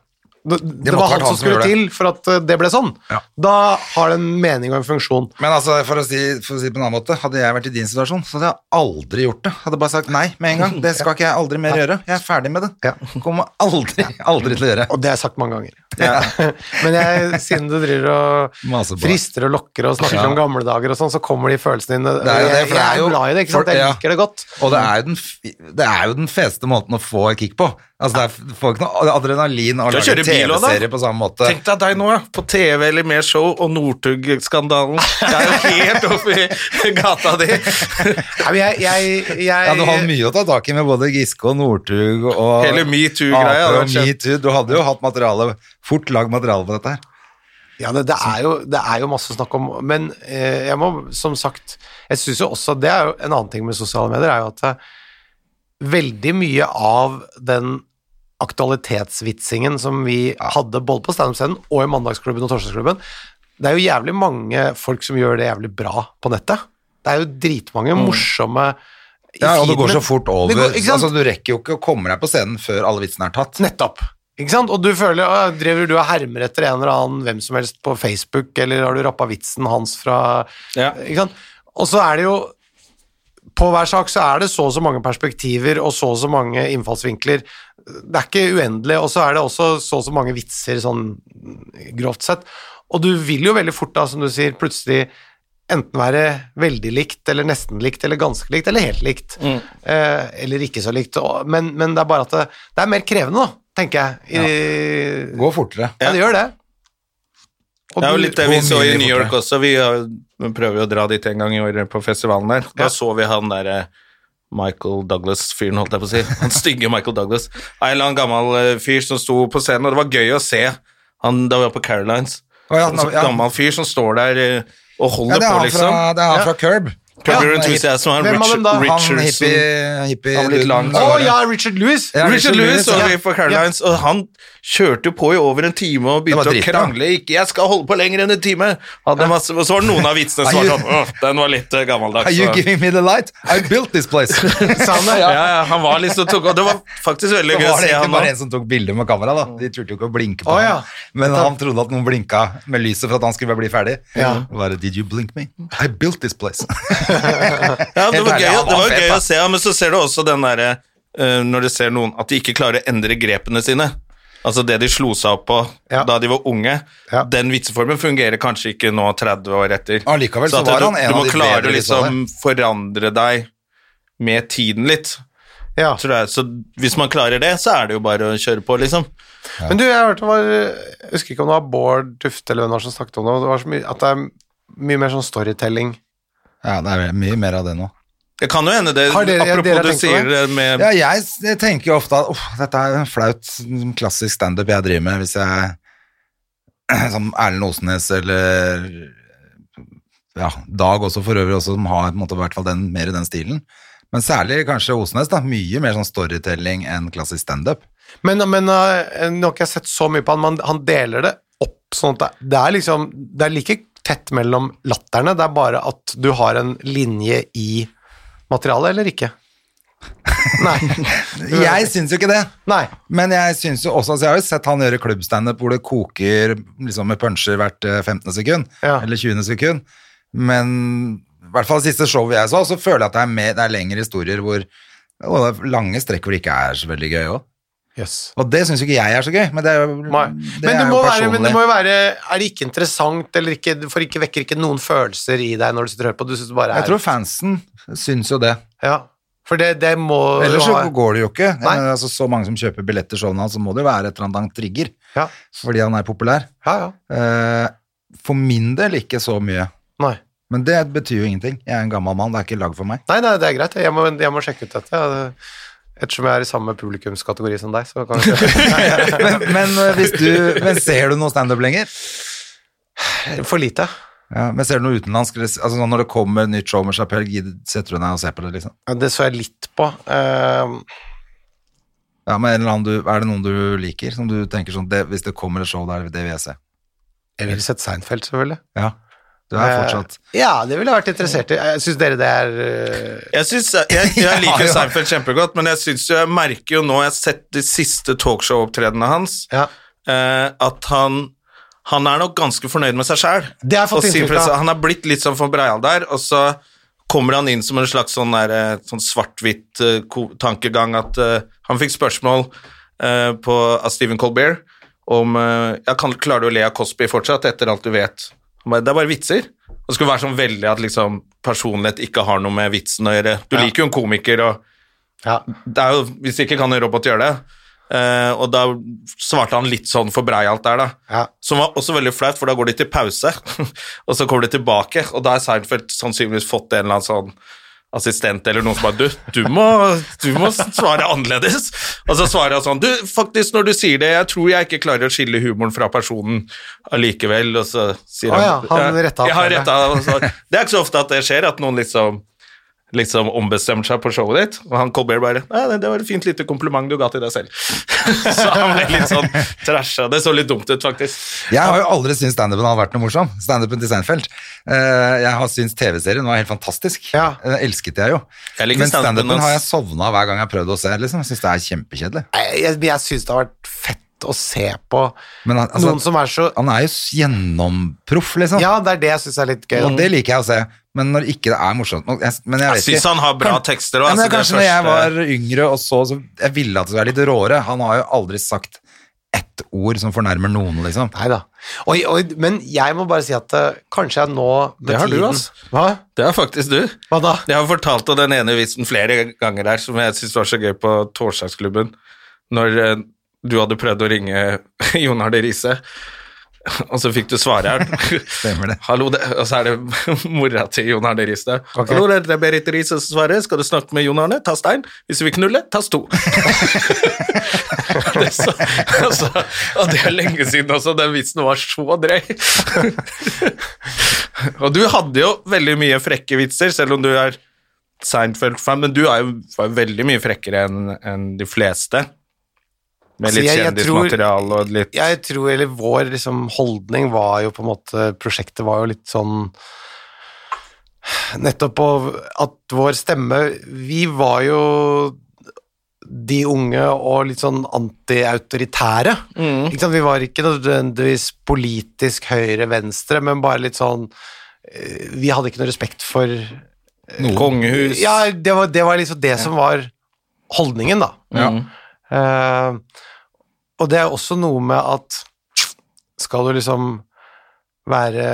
Det, det
måtte
var
vært
han som skulle
gjorde det.
til for at eh, det ble sånn.
Ja.
Da har det en mening og en funksjon.
Men altså, for å, si, for å si det på en annen måte, hadde jeg vært i din situasjon, så hadde jeg aldri gjort det. Hadde bare sagt nei med en gang. Det skal ikke jeg aldri mer gjøre. Jeg er ferdig med det. Kommer aldri, aldri til å gjøre.
Og det har jeg sagt mange ganger. Men jeg, siden du driver og
Maser på det.
frister og lokker og snakker
Ja.
om gamle dager og sånn, så kommer de følelsene dine.
Det er jo det, for det er
jeg, jeg
jo-
er glad i det, ikke sant?
for-
Jeg
ja.
liker det godt.
Og det er, jo den, f- det er jo den feste måten å få et kick på. Altså, det er, du får ikke noe adrenalin av å
Du
lage
kjører
en
kilo, da.
TV-serie på samme måte.
Tenk deg deg nå, ja. På TV eller med show og Northug-skandalen. Jeg er jo helt oppi gata di.
Nei, men jeg, jeg, jeg
Ja, du hadde mye å ta tak i med både Giske og Northug og
Hele metoo-greia
Ape
hadde
og
vært kjent.
metoo. Du hadde jo hatt materiale, fort lagd materiale på dette her.
Ja, det, det, er jo, det er jo masse snakk om Men eh, jeg må som sagt Jeg syns jo også Det er jo en annen ting med sosiale medier, er jo at eh, veldig mye av den aktualitetsvitsingen som vi hadde både på standup-scenen og i Mandagsklubben og Torsdagsklubben Det er jo jævlig mange folk som gjør det jævlig bra på nettet. Det er jo dritmange morsomme i
Mm. Ja, og det
feeden
går
min.
så fort over.
Det går- ikke sant?
altså, du rekker jo ikke å komme deg på scenen før alle vitsene er tatt.
Nettopp. Ikke sant? Og du føler, «Å, driver du og hermer etter en eller annen hvem som helst på Facebook, eller har du rappa vitsen hans fra
Ja.
Ikke sant? Og så er det jo På hver sak så er det så og så mange perspektiver og så og så mange innfallsvinkler. Det er ikke uendelig, og så er det også så og så mange vitser, sånn grovt sett. Og du vil jo veldig fort, da, som du sier, plutselig enten være veldig likt, eller nesten likt, eller ganske likt, eller helt likt.
Mm.
Eh, eller ikke så likt. Og, men, men det er bare at det, det er mer krevende, da, tenker jeg. I, ja.
Gå fortere.
det gjør det. Og
Det er jo
du-
litt det vi
og
så
mye
i New York
fortere.
også. Vi har- vi prøver jo å dra dit en gang i år på festivalen der. Da
Ja.
så vi han derre Michael Douglas-fyren, holdt jeg på å si. Han stygge Michael Douglas. En eller annen gammel eh, fyr som sto på scenen, og det var gøy å se han da vi var på Carolines.
Å, ja,
En sånn
ja.
gammel fyr som står der eh, og holder
Ja, det er
på,
han
liksom.
fra, det er han
Ja.
fra Curb.
Curb
Ja,
Your
han er
Enthusiasm, han
Hvem av dem
Richard,
da? Han
Han
Richardson.
hippie, hippie
Han var litt lang.
Å ja, Richard Lewis!
Ja,
Richard Lewis
ja.
og vi på Carolines, og han kjørte jo på i over en time og
Det var
begynte å
dritt, da.
krangle. Ikke, 'Jeg skal holde på lenger enn en time!' Hadde masse, og så var det noen av vitsene som
Are
var
you-
sånn «Åh, Den var litt eh, gammeldags.
Are you
så-
giving me the light? I built this place. Det
Sa han det?
ja, ja, han var liksom tok, Og det var faktisk veldig gøy å
var det
se
egentlig
han
bare en
nå.
som tok bilder med kamera, da. De turte jo ikke å blinke på
Å, ja.
ham. Men han trodde at noen blinka med lyset for at han skulle bli ferdig.
Ja.
Bare, did you blink me? I built this place.
Ja, det
Helt
var
ærlig,
gøy,
han var
det var
fet,
gøy
da.
å se han, men så ser du også den derre eh, Når du ser noen at de ikke klarer å endre grepene sine. Altså det de slo seg opp på
Ja.
da de var unge.
Ja.
Den vitseformen fungerer kanskje ikke nå 30 år etter.
Allikevel så
at
var
du,
han en
du
av
må
de
klare
bedre
å
vi så
liksom forandre deg med tiden litt.
Ja.
Tror jeg. Så hvis man klarer det, så er det jo bare å kjøre på, liksom.
Men du, jeg hørte det var Jeg husker ikke om det var Bård Tufte eller hvem det var som snakket om det, og det var så mye at det er mye mer sånn storytelling.
ja, det er mye mer av det nå.
Det kan jo hende det,
Har dere-
apropos
dere har
du
tenkt på
sier det med
Ja, jeg s- jeg tenker jo ofte at «Uff, dette er en flaut sånn klassisk standup jeg driver med, hvis jeg Som Erlend Osnes eller ja, Dag også for øvrig, også, som har på en måte, i hvert fall den, mer i den stilen. Men særlig kanskje Osnes. da, Mye mer sånn storytelling enn klassisk standup.
Men, men eh, nå har ikke jeg sett så mye på han, men han deler det opp sånn at det, det er liksom Det er like tett mellom latterne, det er bare at du har en linje i materialet, eller ikke? Nei.
Jeg syns jo ikke det.
Nei.
Men jeg synes jo også, altså jeg har jo sett han gjøre klubbstandup hvor det koker liksom med puncher hvert eh, 15. sekund,
Ja.
eller 20. sekund. Men i hvert fall det siste showet jeg så, så føler jeg at det er, mer, det er lengre historier hvor og det er lange strekk hvor det ikke er så veldig gøy også.
Jøss.
Og det synes jo ikke jeg er så gøy, men det er jo,
Nei.
det
Men, det
er
må
jo
være, men det
personlig.
må jo være Er det ikke interessant, eller ikke For ikke vekker ikke noen følelser i deg når du sitter og hører på? Du synes det bare er
Jeg tror fansen synes jo det.
Ja. For det, det må
Ellers så
ha-
går det jo ikke.
Nei.
Eh, Altså, så mange som kjøper billetter showene hans, så må det jo være et eller annet trigger,
Ja,
fordi han er populær.
ja. ja.
Eh, For min del ikke så mye.
Nei.
Men det betyr jo ingenting. Jeg er en gammel mann, det er ikke lag for meg.
Nei, nei, det er greit. Jeg må, jeg må sjekke ut dette. jeg. Ettersom jeg er i samme publikumskategori som deg, så kan jeg
Men, men, eh, hvis du, men ser du noe standup lenger?
For lite.
Ja, men ser du noe utenlandsk? eller- Altså, sånn når det kommer nytt show med Chapelle, gidder- setter du deg og ser på det, liksom?
Ja, Det så jeg litt på. Ehm,
Ja, men en eller annen du, Er det noen du liker, som du tenker sånn det, Hvis det kommer et show der, det vil jeg se.
jeg ville sett Seinfeld, selvfølgelig.
Ja. Du er fortsatt
Eh, Ja, det ville jeg vært interessert i. Jeg Syns dere det er eh,
Jeg, synes, jeg, jeg liker
Ja, ja.
Seinfeld kjempegodt, men jeg synes jo, jeg merker jo nå Jeg har sett de siste talkshow-opptredenene hans,
Ja.
eh, at han han er nok ganske fornøyd med seg sjæl.
Det har jeg fått inntrykk av.
Han er blitt litt sånn for breial der, og så kommer han inn som en slags sånn, der, eh, sånn svart-hvitt eh, ko- tankegang at eh, han fikk spørsmål eh, på, av Stephen Colbert om eh, ja, kan, Klarer du å le av Cosby fortsatt etter alt du vet? Han bare, det er bare vitser. Det skulle være sånn veldig at liksom, personlighet ikke har noe med vitsen å gjøre. Du liker jo en komiker og
Ja.
det er jo, Hvis ikke kan en robot gjøre det. Eh, og da svarte han litt sånn for breialt der, da.
Ja.
Som var også veldig flaut, for da går de til pause, og så kommer de tilbake, og da har Seinfeld sannsynligvis fått en eller annen sånn assistent eller noen som bare du, du, må, du må svare annerledes. Og så svarer han sånn Du, faktisk, når du sier det, jeg tror jeg ikke klarer å skille humoren fra personen allikevel. Og så sier
Å ja,
han
han retta opp
jeg har
det.
retta og så- Det er ikke så ofte at det skjer, at noen liksom liksom ombestemmer seg på showet ditt, og han Colbert bare «Nei, nei, 'Det var et fint lite kompliment du ga til deg selv'. så han ble litt sånn trasha. Det så litt dumt ut, faktisk.
Jeg har jo aldri syntes standupen hadde vært noe morsom. Standupen til Seinfeld. Eh, Jeg har syntes TV-serien var helt fantastisk.
Ja.
Den elsket jeg jo.
Jeg liker
Men
standupen
standupen
hans.
har jeg sovna hver gang jeg har prøvd å se. Liksom. Jeg Syns det er kjempekjedelig.
Jeg, jeg, jeg syns det har vært fett å se på
Men han- altså-
noen som er så
Han er jo s- gjennomproff, liksom.
Ja, det er det jeg syns er litt gøy.
Og det liker jeg å se. Men når ikke det er morsomt nok jeg, men jeg,
Jeg
vet
syns
ikke.
han har bra
Kan-
tekster
Ja,
altså, òg.
men altså, det er kanskje når jeg var yngre og så, så Jeg ville at det skulle være litt råere. Han har jo aldri sagt ett ord som fornærmer noen, liksom.
Nei da. Oi, oi, men jeg må bare si at eh, kanskje jeg nå med
Det har du,
tiden
ass.
Hva?
Det er faktisk du.
Hva da?
Jeg har fortalt om den ene vitsen flere ganger der, som jeg syns var så gøy på Torsdagsklubben, når eh, du hadde prøvd å ringe Jon Arne Riise. Og så fikk du svareren.
Stemmer det.
Hallo, det, og så er det mora til Jon Arne Riise. Hallo, det er Berit Riise som svarer. Skal du snakke med Jon Arne? Tast én. Hvis du vil knulle, tast to. det er så, altså, og det er lenge siden også. Den vitsen var så drøy. og du hadde jo veldig mye frekke vitser, selv om du er Seinfeld-fan, men du er jo var jo veldig mye frekkere enn enn de fleste. Med
Altså,
litt
jeg- jeg tror-
kjendismateriale og litt
Jeg tror, eller vår liksom, holdning var jo på en måte Prosjektet var jo litt sånn Nettopp på at vår stemme Vi var jo de unge og litt sånn antiautoritære.
Mm.
Ikke sant? Vi var ikke nødvendigvis politisk høyre-venstre, men bare litt sånn eh, Vi hadde ikke noe respekt for
kongehus.
Ja, det var, det var liksom det som var holdningen, da. Eh, og det er også noe med at skal du liksom være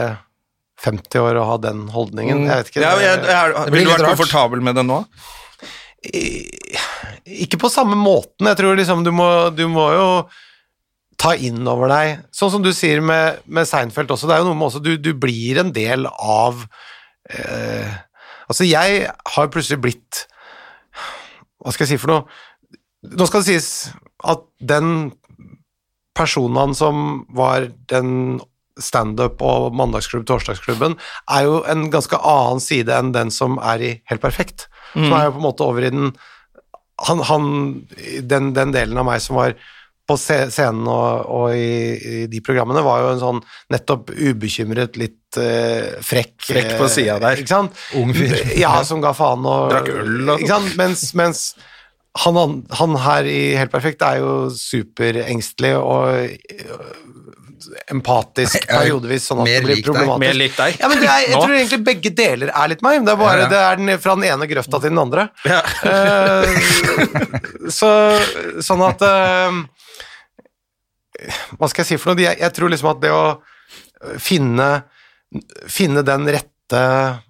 50 år og ha den holdningen? Jeg vet ikke.
Mm. Ja, jeg,
det-
jeg,
Det blir
vil du
litt
være
rart.
komfortabel med det nå?
Ikke på samme måten. Jeg tror liksom du må, du må jo ta inn over deg Sånn som du sier med, med Seinfeld også, det er jo noe med også Du, du blir en del av eh, Altså, jeg har plutselig blitt Hva skal jeg si for noe? Nå skal det sies at den personen som var den standup- og mandagsklubb, torsdagsklubben, er jo en ganske annen side enn den som er i Helt perfekt. Som
Mm.
er jo på en måte over i den han, han, den, den delen av meg som var på sce- scenen og, og i, i de programmene, var jo en sånn nettopp ubekymret, litt eh, frekk
Frekk på
eh,
siden der.
Ikke sant?
Ung fyr.
Ja, som ga faen og
Drakk øl og sånt.
Ikke sant? Mens, mens han, an- han her i Helt perfekt er jo superengstelig og øh, empatisk periodevis, sånn at
mer
det blir
lik deg.
problematisk.
Mer lik deg.
Ja, men det er, jeg
Nå.
tror egentlig begge deler er litt meg. men Det er
Ja,
bare
ja.
det er den, fra den ene grøfta til den andre.
Ja.
Eh, så, sånn at eh, Hva skal jeg si for noe? Jeg, jeg tror liksom at det å finne, finne den rette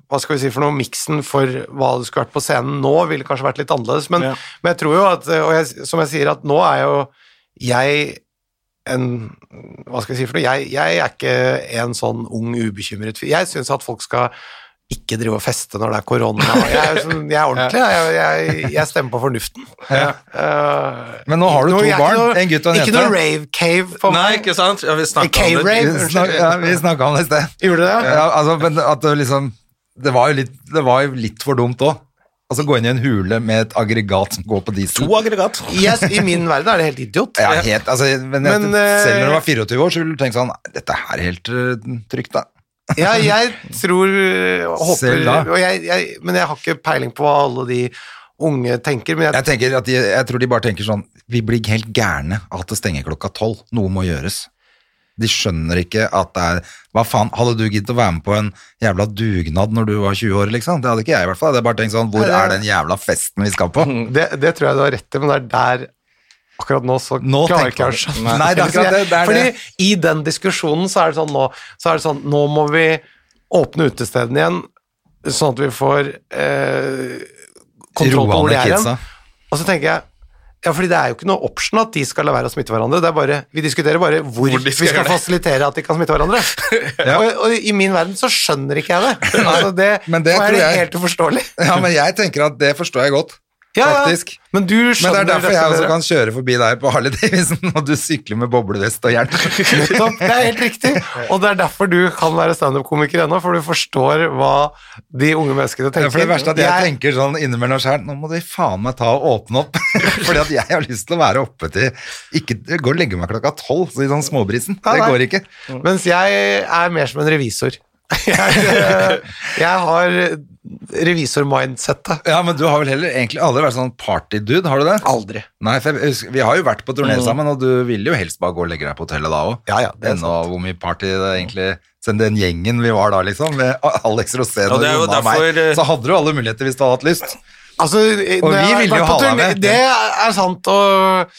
hva skal vi si for noe, miksen for hva det skulle vært på scenen nå, ville kanskje vært litt annerledes, men,
Ja.
men jeg tror jo at Og jeg, som jeg sier, at nå er jo jeg en Hva skal jeg si for noe? Jeg, jeg er ikke en sånn ung, ubekymret fyr. Jeg syns at folk skal ikke drive og feste når det er korona. Jeg er, jo sånn, jeg er ordentlig, jeg, jeg, jeg stemmer på fornuften. Eh,
Men nå har du
nå-
to
jeg er ikke
barn,
noe-
en gutt og en
Ikke
jente.
noe rave-cave på
Nei,
meg.
ikke sant? Ja, vi snakket om det.
K-rave.
Vi snak- ja, vi snakka om det i sted.
Gjorde du det?
Ja, altså, men at det liksom Det var jo litt, det var jo litt for dumt òg. Altså gå inn i en hule med et aggregat som går på diesel.
To aggregat.
Yes, I min verden er det helt idiot.
Ja, helt, altså, men, jeg-
Men, eh,
selv når du var 24 år, så ville du tenkt sånn Dette her er helt eh, trygt, da.
Ja, jeg tror og
Selv
håper
da.
og jeg, jeg, Men jeg har ikke peiling på hva alle de unge tenker. Men jeg,
Jeg, tenker at de, jeg tror de bare tenker sånn Vi blir helt gærne av at det stenger klokka tolv. Noe må gjøres. De skjønner ikke at det er Hva faen, hadde du giddet å være med på en jævla dugnad når du var 20 år, liksom? Det hadde ikke jeg, i hvert fall. Jeg hadde bare tenkt sånn Hvor
Nei, det-
er den jævla festen vi skal på?
det, det tror jeg du har rett i, men det er der Akkurat nå så
Nå
klarer
tenker
jeg ikke
man det.
å skjønne
Nei, det er akkurat det, det er
Fordi
det.
i den diskusjonen så er det sånn nå Så er det sånn, nå må vi åpne utestedene igjen, sånn at vi får eh, kontroll på
Roa
hvor de
ned
er
kidsa.
igjen. Og så tenker jeg Ja, fordi det er jo ikke noe option at de skal la være å smitte hverandre. Det er bare, vi diskuterer bare hvor,
Hvor de skal
vi skal
gjøre det.
fasilitere at de kan smitte hverandre. og, og i min verden så skjønner ikke jeg det. Altså, det,
men det
nå
tror
er det
jeg-
helt uforståelig.
Ja, men jeg tenker at det forstår jeg godt,
Ja, ja.
faktisk.
Men du
Men det
skjønner
er derfor jeg også
dere.
kan kjøre forbi deg på Harley Davidson, og du sykler med boblevest og hjelm.
Nettopp, Det er helt riktig. Og det er derfor du kan være standup-komiker ennå, for du forstår hva de unge menneskene
Ja,
tenker.
for det verste er at jeg, tenker sånn innimellom sjøl Nå må de faen meg ta og åpne opp. Fordi at jeg har lyst til å være oppe til ikke, Gå og legge meg klokka tolv så i sånn småbrisen.
Ja,
Det
nei.
går ikke.
Mens jeg er mer som en revisor. Jeg, eh, jeg har revisor-mindsettet.
Ja, men du har vel heller egentlig aldri vært sånn partydude, har du det?
Aldri.
Nei, for jeg husker, Vi har jo vært på turné sammen, og du ville jo helst bare gå og legge deg på hotellet da òg.
Mm. Ja, ja, det er sant.
hvor mye party det egentlig Sen den gjengen vi var da, liksom, med Alex Rosén
Ja,
og
det er jo
Jonna og meg,
derfor, eh,
så hadde du alle muligheter hvis du hadde hatt lyst.
Altså,
Og
når
vi
jeg har
ville jo
vært på
ha deg
turné-
med.
Det er sant, og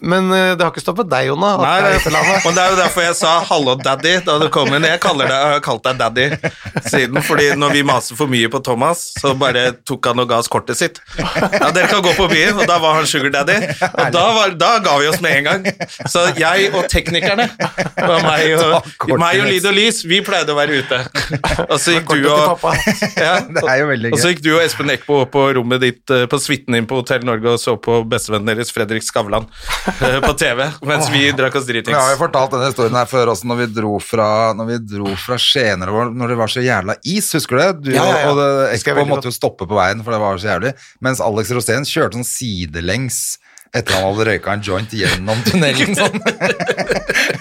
men eh, det har ikke stoppet deg, Jonna. at
Nei,
jeg
det,
er i utlandet.
men det er jo derfor jeg sa 'hallo, daddy' da du kom inn. Jeg, kaller deg, jeg har kalt deg daddy siden, fordi når vi maser for mye på Thomas, så bare tok han og ga oss kortet sitt. Ja, 'Dere kan gå på byen', og da var han sugar daddy. Og da, var, da ga vi oss med en gang. Så jeg og teknikerne, var meg
Ta
og,
kortet
meg og
ditt.
Lyd og Lys, vi pleide å være ute. Og så gikk du
Kortet til
og
pappa.
ja,
Det er jo veldig
og så
gøy.
gikk du og Espen Eckbo opp på rommet ditt eh, på suiten din på Hotell Norge og så på bestevennen deres Fredrik Skavlan eh, på TV, mens vi drakk oss
Vi har jo
dritings.
fortalt denne historien her før også, når vi dro fra, når vi dro fra Skien, eller hvor- når det var så jævla is, husker du det? Du
Ja, ja, ja.
og det-
Husker jeg
Expo
veldig godt.
måtte jo stoppe på veien, for det var så jævlig. Mens Alex Rosén kjørte sånn sidelengs etter han hadde røyka en joint gjennom tunnelen. Sånn.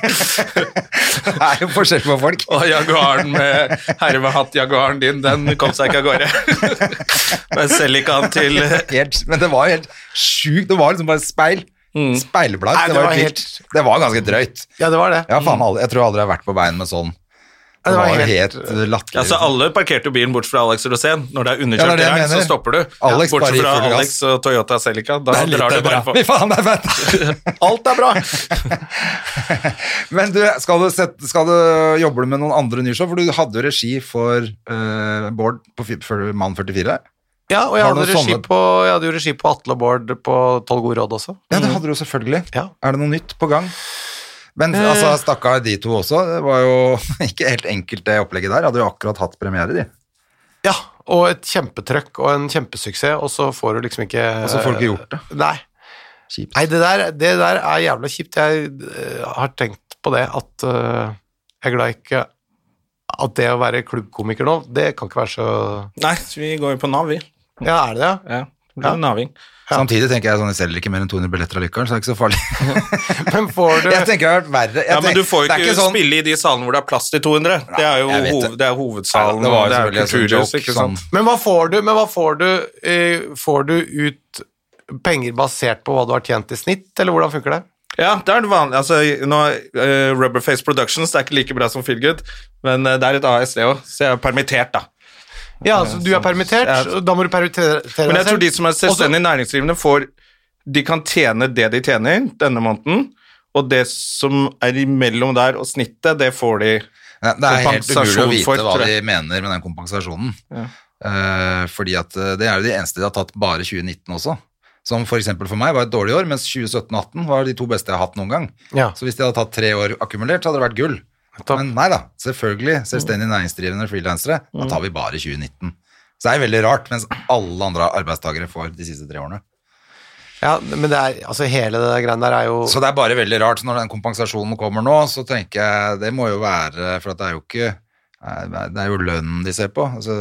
det er jo forskjell på folk.
Og Jaguaren med herre med hatt, Jaguaren din, den kom seg ikke av gårde. Men selv ikke han til
Helt, men det var jo helt sjukt. Det var liksom bare speil. Speilblad. det,
Mm. Nei, det
var
var
helt... vilt. det var ganske drøyt.
Ja, det var det.
Ja, faen, aldri- jeg tror aldri jeg har vært på veien med sånn. Det
var
var jo
helt-
helt latterlig.
Altså, alle parkerte jo bilen bort fra Alex Rosén. Når det
Ja, det
er
er
underkjørt
det jeg
terreng, så
mener.
stopper du.
Alex bare
Bortsett
gir
fra
full gass.
Alex og Toyota Celica. Da
Det er litt
drar du
bra.
bare på.
Fy faen, det er fett. Alt er bra. Men du, skal du, sette, skal du jobbe med noen andre nye show? For du hadde jo regi for eh, Bård på fi- for Mann 44.
Ja, og jeg
Har du
hadde,
noen
regi
sånne-
på, jeg hadde jo regi på Atle og Bård på Tolv gode råd også.
Ja,
Mm.
det hadde du selvfølgelig.
Ja.
Er det noe nytt på gang?
Eh.
Men altså, stakkar de to også. Det var jo ikke helt enkelt, det opplegget der. Hadde jo akkurat hatt premiere, de.
Ja, og et kjempetrøkk og en kjempesuksess, og så får du liksom ikke
Og så
Eh,
får du ikke gjort det.
Nei.
Kjipt.
Nei, det der, det der er jævla kjipt. Jeg eh, har tenkt på det at eh, jeg er glad ikke at det å være klubbkomiker nå, det kan ikke være så
Nei, så vi går jo på Nav, vi.
Ja, er det det?
Ja, det blir jo naving.
Samtidig tenker jeg sånn, jeg selger ikke mer enn 200 billetter allikevel, så det er ikke så farlig.
Men får du
Jeg tenker det har vært verre. Jeg
Ja, men
tenker-
du får jo
det er
ikke,
sånn-
spille i de salene hvor det er plass til 200. det er jo
jeg vet
hov,
det.
det er hovedsalen.
Det var jo
og det er
selvfølgelig en
kulturhus,
joke,
ikke
sånn.
sant?
Men hva får du? Men hva får du? eh, Får du ut penger basert på hva du har tjent i snitt, eller hvordan funker det?
Ja, det er det vanlige. Altså, nå, eh, Rubberface Productions det er ikke like bra som Feelgood, men eh, det er et AS, det òg, så jeg er permittert, da.
Ja, altså du er permittert,
Ja.
og da må du permittere deg selv.
Men jeg tror de som er
Og så-
selvstendig næringsdrivende, får De kan tjene det de tjener denne måneden, og det som er imellom der og snittet, det får de
Ja, det er helt umulig å
Kompensasjon
vite
for,
hva
tror
de
jeg.
mener med den kompensasjonen. Eh, fordi at eh, det er jo de eneste de har tatt bare 2019 også. Som for eksempel for meg var et dårlig år, mens 2017 og 2018 var de to beste jeg har hatt noen gang.
Ja.
Så hvis de hadde tatt tre år akkumulert, så hadde det vært gull.
Nettopp.
Men nei da, selvfølgelig, selvstendig næringsdrivende og frilansere, da tar vi bare 2019. Så det er veldig rart, mens alle andre arbeidstakere får de siste tre årene.
Ja, men det er, altså hele det der greiene der er jo
Så det er bare veldig rart. så Når den kompensasjonen kommer nå, så tenker jeg det må jo være For at det er jo ikke Det er jo lønnen de ser på. Altså,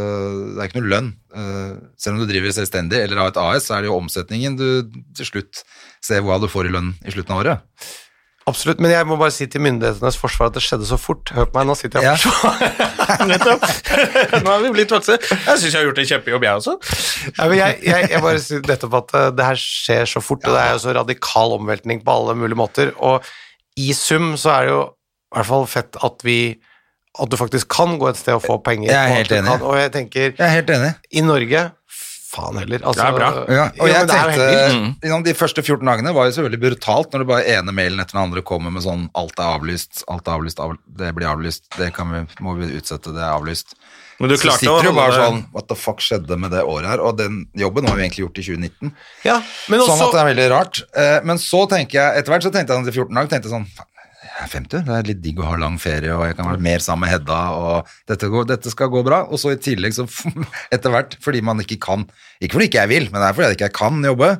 det er ikke noe lønn. Eh, Selv om du driver selvstendig eller har et AS, så er det jo omsetningen du til slutt ser hva du får i lønn i slutten av året.
Absolutt, men jeg må bare si til myndighetenes forsvar at det skjedde så fort. Hør på meg, nå sitter jeg
Ja.
og forsvarer.
Nettopp! Nå er vi blitt voksne. Jeg syns jeg har gjort en kjempejobb, jeg også.
Nei, men jeg, jeg, jeg bare sier nettopp at eh, det her skjer så fort, og det er jo så radikal omveltning på alle mulige måter. Og i sum så er det jo i hvert fall fett at vi at du faktisk kan gå et sted og få penger.
Jeg er
og at
helt
du
enig.
Kan, og jeg tenker,
Jeg er helt enig.
i Norge faen heller. Altså,
Det er bra.
Ja, og jeg
men det er jo
tenkte,
helt vilt.
liksom, De første 14 dagene var jo så veldig brutalt når det bare ene mailen etter den andre kommer med sånn alt er avlyst, alt er avlyst, av, det blir avlyst, det kan vi, må vi utsette, det er avlyst.
Men du
så
klarte å
sitter du bare
holde-
sånn What the fuck skjedde med det året her? Og den jobben har vi egentlig gjort i 2019.
Ja, men også,
sånn at det er veldig rart. Eh, Men så tenker jeg, etter hvert så tenkte jeg sånn til 14 dager, tenkte jeg sånn "Faen, jeg er 50, det er litt digg å ha lang ferie, og jeg kan være mer sammen med Hedda, og dette, går, dette skal gå bra. Og så i tillegg, så etter hvert, fordi man ikke kan, ikke fordi ikke jeg vil, men det er fordi jeg ikke kan jobbe,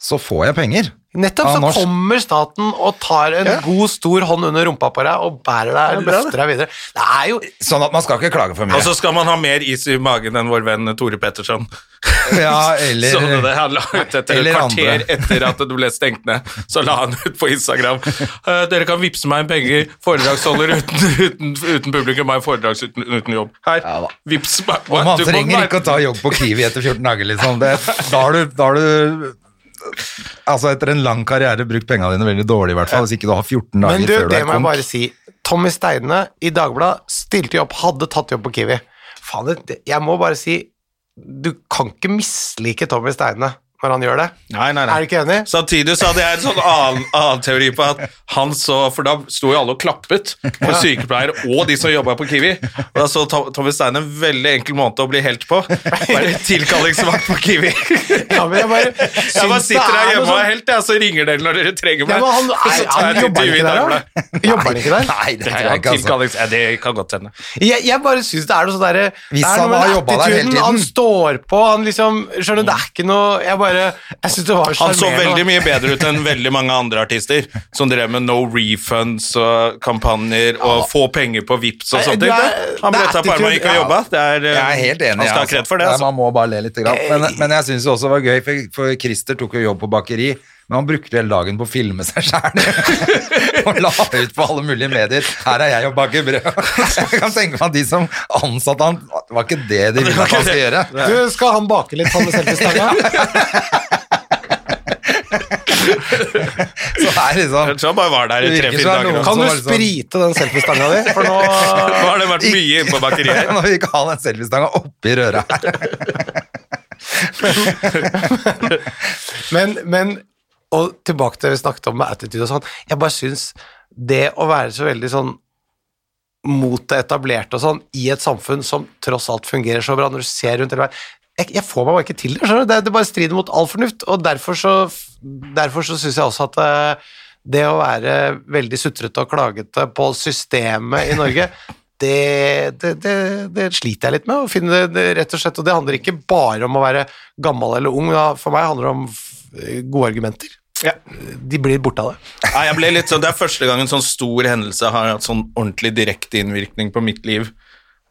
så får jeg penger.
Nettopp
av
så
norsk-
kommer staten og tar en
Ja.
god, stor hånd under rumpa på deg og bærer deg, løfter deg videre. Det er jo
Sånn at man skal ikke klage for mye.
Og så skal man ha mer is i magen enn vår venn Tore Petterson.
ja,
Som
eller...
det han la ut etter et
Eller
kvarter
andre.
etter at det ble stengt ned. Så la han ut på Instagram. «Eh, dere kan vippse meg en penger, foredragsholder uten, uten, uten publikum, meg foredrags uten, uten jobb. Her,
Ja da.
vips meg.
Og man
Du må
trenger
være-
ikke å ta jobb på Kiwi etter 14 dager, liksom. Det, da har du, da har du altså etter en lang karriere brukt pengene dine veldig dårlig, i hvert fall, hvis ikke du har 14 dager
Men du,
før du
det
er
må jeg
konk.
bare si. Tommy Steine i Dagbladet stilte jobb, hadde tatt jobb på Kiwi. Faen, det- det, jeg må bare si, du kan ikke mislike Tommy Steine når han gjør det.
Nei, nei, nei.
Er du ikke enig?
Samtidig så hadde jeg en sånn annen, annen teori på at han så For da sto jo alle og klappet, for sykepleiere og de som jobba på Kiwi. Og da så Tom- Tommy Stein en veldig enkel måte å bli helt på. Være tilkallingsvakt på Kiwi.
Ja, men jeg bare syns
Jeg bare
det
sitter her
er noe
hjemme og
sånn-
er helt, jeg, så ringer dere når dere trenger
Ja,
meg.
men han,
Og
nei,
så tar
han
jeg et
jobber han
intervju i
ikke der,
Dagbladet.
da? Jobber han ikke der?
Nei, det
Nei,
tror jeg
han
ikke, altså.
tilkallings- ja, det kan godt hende.
Jeg, jeg bare syns det er noe sånn derre det
Hvis
er
han
noe med
har jobbet der hele
attituden,
tiden.
Han står på, han liksom Skjønner, det er ikke noe Jeg bare Jeg syns det
Han
var
så veldig
sjarmerende.
mye bedre ut enn veldig mange andre artister som drev med no refunds og kampanjer og få penger på Vipps og
Nei,
sånne
du
ting.
er-
Han
det er
bretta på armene og
attitude,
gikk og
ja.
jobba. Det er, eh,
Jeg er helt enig.
Han
jeg,
skal ha
altså.
kred for det.
Nei,
Altså.
Man må bare le litt. Grann. Men, men jeg syns det også var gøy, for, for Christer tok jo jobb på bakeri, men han brukte hele dagen på å filme seg sjæl. og la ut på alle mulige medier. 'Her er jeg og baker brød'. jeg kan tenke meg at de som ansatte han, var ikke det de ville at han skulle gjøre.
Du, skal han bake litt Tommy Selfie-stanga?
Så det er liksom
Jeg tror han bare var der i
Det virker
tre-fire
som
dager.
noen-
altså.
Kan du
Så var det sånn-
sprite den selfiestanga di? For nå
Nå har det vært mye inne på bakeriet her.
Nå vil vi ikke ha den selfiestanga oppi røra her.
Men, men Og tilbake til det vi snakket om med attitude og sånn. Jeg bare syns det å være så veldig sånn mot det etablerte og sånn i et samfunn som tross alt fungerer så bra, når du ser rundt hele veien jeg, jeg får meg bare ikke til det. skjønner du? Det, det bare strider mot all fornuft. Og derfor så, derfor så syns jeg også at eh, det å være veldig sutrete og klagete på systemet i Norge det, det, det, det sliter jeg litt med, å finne det, det rett og slett. Og det handler ikke bare om å være gammel eller ung, da. for meg handler det om f- gode argumenter. De blir borte av det.
Nei, jeg ble litt sånn, Det er første gang en sånn stor hendelse har hatt sånn ordentlig direkte innvirkning på mitt liv.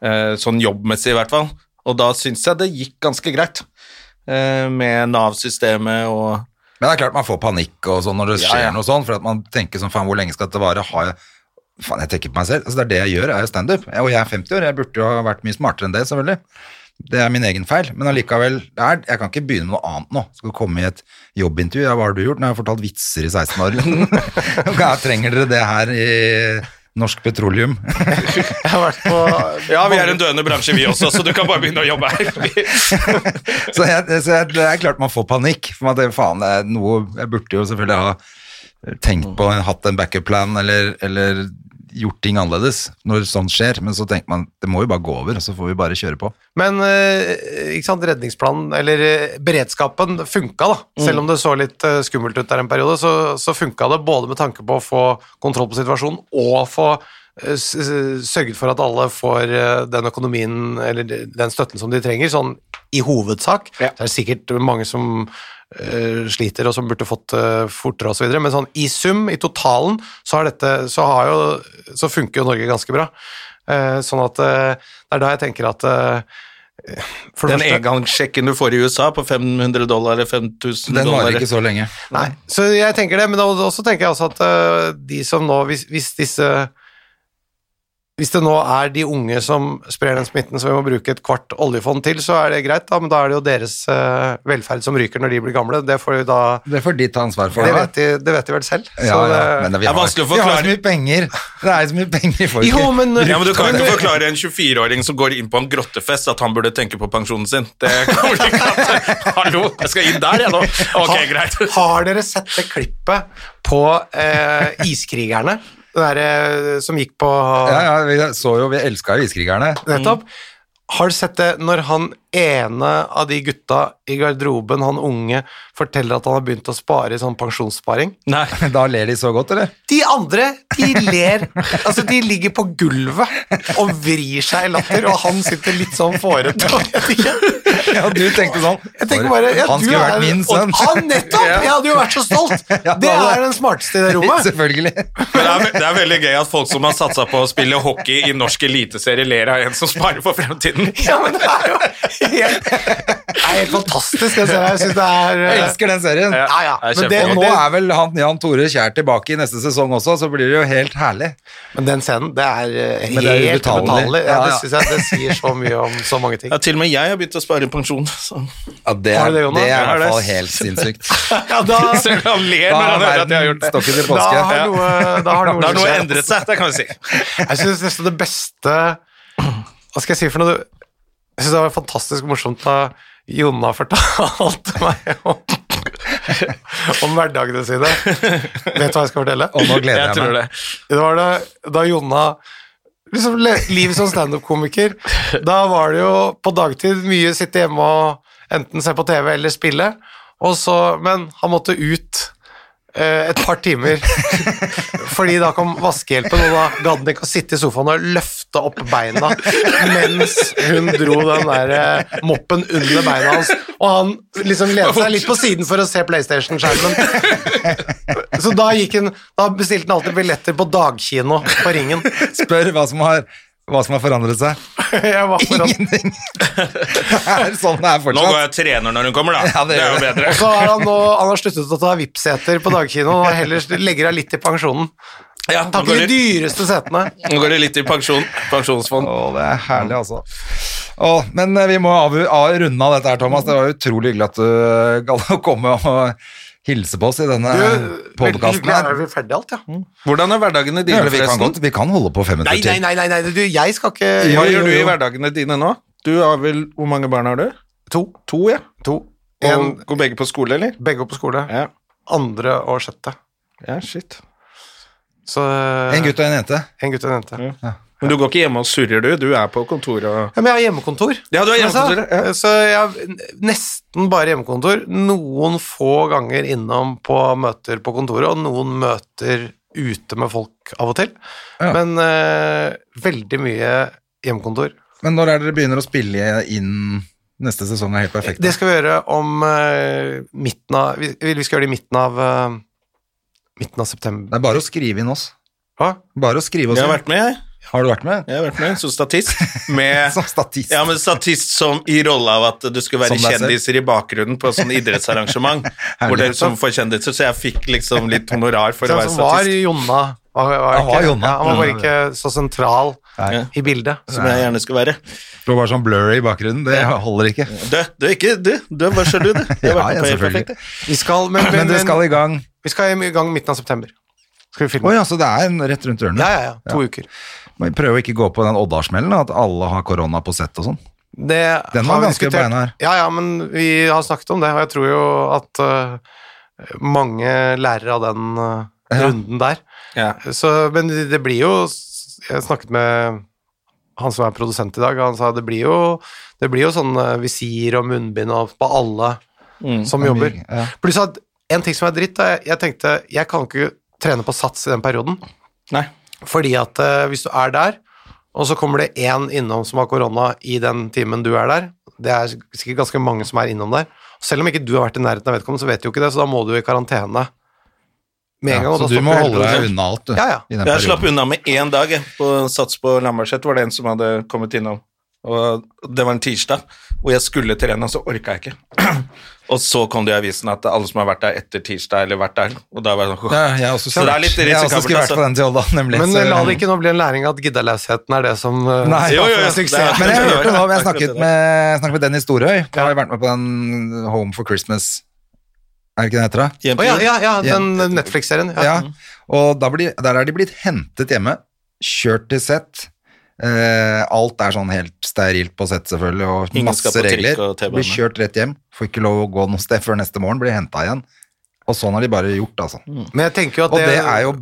Eh, sånn jobbmessig, i hvert fall. Og da syns jeg det gikk ganske greit. Eh, med Nav-systemet og
Men det er klart man får panikk og sånn når det skjer
ja.
noe sånn, for at man tenker sånn, faen, hvor lenge skal dette vare? Har jeg, faen, jeg tenker på meg selv. Altså, det er det jeg gjør, er jo standup. Jeg- Og jeg er 50 år, jeg burde jo ha vært mye smartere enn det, selvfølgelig. Det er min egen feil, men allikevel, det er, jeg kan ikke begynne med noe annet nå. Skal komme i et jobbintervju, ja, hva har du gjort? Nei, jeg har fortalt vitser i 16 år. Hva trenger dere det her i norsk petroleum?
Jeg har vært på
Ja, vi er en døende bransje, vi også, så du kan bare begynne å jobbe her.
så jeg, så jeg, det er klart man får panikk. For man tenker, faen, det er noe, jeg burde jo selvfølgelig ha tenkt på, hatt en backup plan, eller, eller gjort ting annerledes når sånt skjer. Men så tenker man, det må jo bare gå over, og så får vi bare kjøre på.
Men eh, ikke sant, redningsplanen, eller eh, beredskapen, funka da. Selv om det så litt eh, skummelt ut der en periode, så, så funka det både med tanke på å få kontroll på situasjonen og få eh, s- s- sørget for at alle får eh, den økonomien eller de- den støtten som de trenger, sånn i hovedsak. Det er sikkert mange som eh, sliter og som burde fått eh, fortere osv., men sånn i sum, i totalen, så, har dette, så, har jo, så funker jo Norge ganske bra. Eh, sånn at eh, det er da jeg tenker at eh, for det
Den
første,
engangssjekken du får i USA på 500 dollar eller 5000
Den
dollar
varer ikke så lenge.
nei, så jeg altså tenker det, men da- også tenker jeg også at eh, de som nå, hvis, hvis disse Hvis det nå er de unge som sprer den smitten, så vi må bruke et kvart oljefond til, så er det greit, da, men da er det jo deres eh, velferd som ryker når de blir gamle. Det får vi da
Det får de ta ansvar for.
det
da.
vet, de, det vet de vel selv.
Ja,
Så
ja,
det-
men
Det
vi
er
har,
vanskelig å
vi har
forklare.
så mye penger. Det er så mye penger i folket.
jo, men,
Ja, men Du kan
men-
ikke forklare en 24-åring som går inn på en grottefest at han burde tenke på pensjonen sin. Det kommer de ikke at Hallo, jeg skal inn der, jeg nå. Ok,
Har-
greit.
Har dere sett det klippet på eh, Iskrigerne? Det derre som gikk på
Ja, ja, vi så jo, vi elska jo Iskrigerne.
Nettopp. Har du sett det når han ene av de gutta i garderoben, han unge, forteller at han har begynt å spare i sånn pensjonssparing?
Nei.
Da ler de så godt, eller?
De andre, de ler. Altså, de ligger på gulvet og vrir seg i latter, og han sitter litt sånn fårete og vet ikke.
Ja, du tenkte sånn
Jeg tenker bare, ja,
Han
du
skulle
er-
vært min sønn.
Og, han nettopp! Jeg hadde jo vært så stolt!
Ja,
Det
han hadde-
er den smarteste i det rommet.
Selvfølgelig.
Men det er, ve- det er veldig gøy at folk som har satsa på å spille hockey i norsk eliteserie, ler av en som sparer for fremtiden.
Ja, men det er jo helt, det er helt fantastisk. Jeg, ser det. jeg synes det er
Jeg
eh,
elsker den serien.
Ja, ja.
Jeg
Men, det,
kjemper.
Og nå
det,
er vel han, Jan Tore Kjær tilbake i neste sesong også, så blir det jo helt herlig.
men den scenen, det er eh,
Men det er
helt
ubetalelig.
ubetalelig. Ja,
Ja,
det
ja.
synes jeg det sier så mye om så mange ting.
Ja, til og med jeg har begynt å spare i pensjon. Så.
Ja, det
Har
er,
du det,
det er
Jonas?
i
Ja,
hvert
det er-
fall helt sinnssykt.
Ja, da,
Selv om han ler
Da
når han hører
er
at jeg har
verden
gjort det.
stokket i
da
påske.
har noe, da har noe,
Da har noe
skjedd.
endret seg, det kan vi si.
Jeg synes nesten det beste Hva skal jeg si for noe? Jeg synes det var fantastisk morsomt da Jonna fortalte meg om, om hverdagene sine. Vet du hva jeg skal fortelle?
Og nå gleder
Jeg
jeg
tror
meg.
det.
Det var da, da Jonna liksom, le- Livet som standup-komiker Da var det jo på dagtid mye sitte hjemme og enten se på TV eller spille. Og så, men han måtte ut eh, et par timer. Fordi da kom vaskehjelpen, og da gadd han ikke å sitte i sofaen og løfte opp beina mens hun dro den der eh, moppen under beina hans. Og han liksom lente seg litt på siden for å se PlayStation-skjermen. Så da, gikk han, da bestilte han alltid billetter på dagkino på Ringen.
Spør hva som har, hva som har forandret seg.
Jeg var foran.
Ingenting. Det er sånn det er
Nå går
fortsatt.
jeg og trener når hun kommer, da.
Ja, det
det, er jo
gjør
bedre.
Og så har han nå han har sluttet å ta VIP-seter på dagkino og heller legger av litt i pensjonen.
Ja, nå,
Tar ikke
går
de
det,
dyreste setene.
nå går det litt i pensjon. Pensjonsfond.
Å, det er herlig, altså. Å, men eh, vi må av, av, runde av dette her, Thomas. Det var utrolig hyggelig at du eh, gadd å komme og hilse på oss i denne
Eh,
podkasten
Er
her.
vi ferdig alt, ja?
Hvordan er hverdagene
Ja,
dine,
vi, kan
forresten?
godt, vi kan holde på fem
Nei,
minutter
Mm. nei,
til.
nei, nei, nei, du, jeg skal ikke
Hva
Jo, jo,
gjør du i
jo.
hverdagene dine nå? Du har vel, Hvor mange barn har du?
To.
To, ja.
to. En,
Og går begge på skole, eller?
begge går på skole.
Ja.
Andre og sjette.
ja, shit.
Så,
En gutt og en jente.
En gutt og en jente. Ja.
Men du går ikke hjemme og surrer, du? Du er på kontoret og
men jeg har hjemmekontor.
Ja, du har
som jeg
hjemmekontor,
sa. Så jeg har n- nesten bare hjemmekontor. Noen få ganger innom på møter på kontoret, og noen møter ute med folk av og til.
Ja.
Men eh, veldig mye hjemmekontor.
Men når er det dere begynner å spille inn neste sesong er helt perfekt?
Det skal vi gjøre om eh, midten av vi, vi skal gjøre det i midten av eh, Midten av september.
Det er bare å skrive inn oss.
Hva?
Bare å skrive oss
Jeg har
inn.
vært med, jeg.
Har du vært med?
Jeg har vært med som statist. Med,
Som statist.
ja, men statist som i rolle av at du skulle være
Som deg selv.
kjendiser i bakgrunnen på sånn idrettsarrangement. hvor det er som får kjendiser, Så jeg fikk liksom litt honorar for å
Den
være
som var
statist.
Jonna. Var, var
Han
ikke,
var Jonna.
Ja, han var bare ikke så sentral i bildet.
Som jeg gjerne skulle være.
Det var bare sånn blurry i bakgrunnen. Det holder ikke.
Du, du er ikke du. Du er bare sjalu, du. Jeg har
Ja, ja,
vært med på Helt
selvfølgelig.
Perfekt. jeg.
Vi skal, men, men,
Men dere skal
men,
i gang.
vi skal i gang midten av september. Skal vi
Å
filme?
ja, så det er en rett rundt hjørnet.
Ja, ja, ja. To uker.
Men Prøv å ikke gå på den Odda-smellen, at alle har korona på sett og sånn.
Det
Den var
har vi
ganske
diskutert.
beinhard.
Ja, ja, men vi har snakket om det, og jeg tror jo at øh, mange lærer av den øh,
Ja.
runden der.
Ja.
Så, men det det blir jo Jeg snakket med han som er produsent i dag, og han sa det blir jo, det blir jo sånn øh, visir og munnbind og på alle som jobber.
Ja.
Pluss at en ting som er dritt, er jeg tenkte jeg kan ikke trene på sats i den perioden.
Nei.
Fordi at eh, hvis du er der, og så kommer det én innom som har korona i den timen du er der, det er sikkert ganske mange som er innom der, selv om ikke du har vært i nærheten av vedkommende, så vet du jo ikke det, så da må du i karantene med en
Ja,
gang. og
så
da
du
stopper
må
hele
holde deg
prosessen.
unna alt, du.
Ja, ja.
I den
Jeg slapp
perioden.
unna med én dag jeg, på sats på Lambertseter. Var det en som hadde kommet innom Og det var en tirsdag, og jeg skulle trene, og så orka jeg ikke. og så kom det i avisen at alle som har vært der etter tirsdag, eller vært der Og da var jeg sånn
Ja, jeg har også
Så det er litt
skrevet, jeg har også
risikabelt,
skrevet
altså.
på den til Odda, nemlig. eh,
Men eh,
så-
la det ikke nå bli en læring at giddalausheten er det som eh,
Nei.
Jo, jo, jo.
suksess.
Men jeg hørte nå, men jeg
Akkurat det
snakket
der.
med, jeg snakket med Dennis Storøy. Han har vært med på den Home for Christmas. Er det ikke det den heter? da?
Hjem
Å
til
ja,
jul.
ja, ja, den Netflix-serien.
Ja. Og da blir, der er de blitt hentet hjemme, kjørt til sett. Eh, alt er sånn helt sterilt på sett, selvfølgelig, og
Ingen
masse
skal på trikk
regler.
og T-bane.
Blir kjørt rett hjem, får ikke lov å gå noe sted før neste morgen, blir henta igjen. Og sånn har de bare gjort, altså.
Men jeg tenker jo at
Og det er jo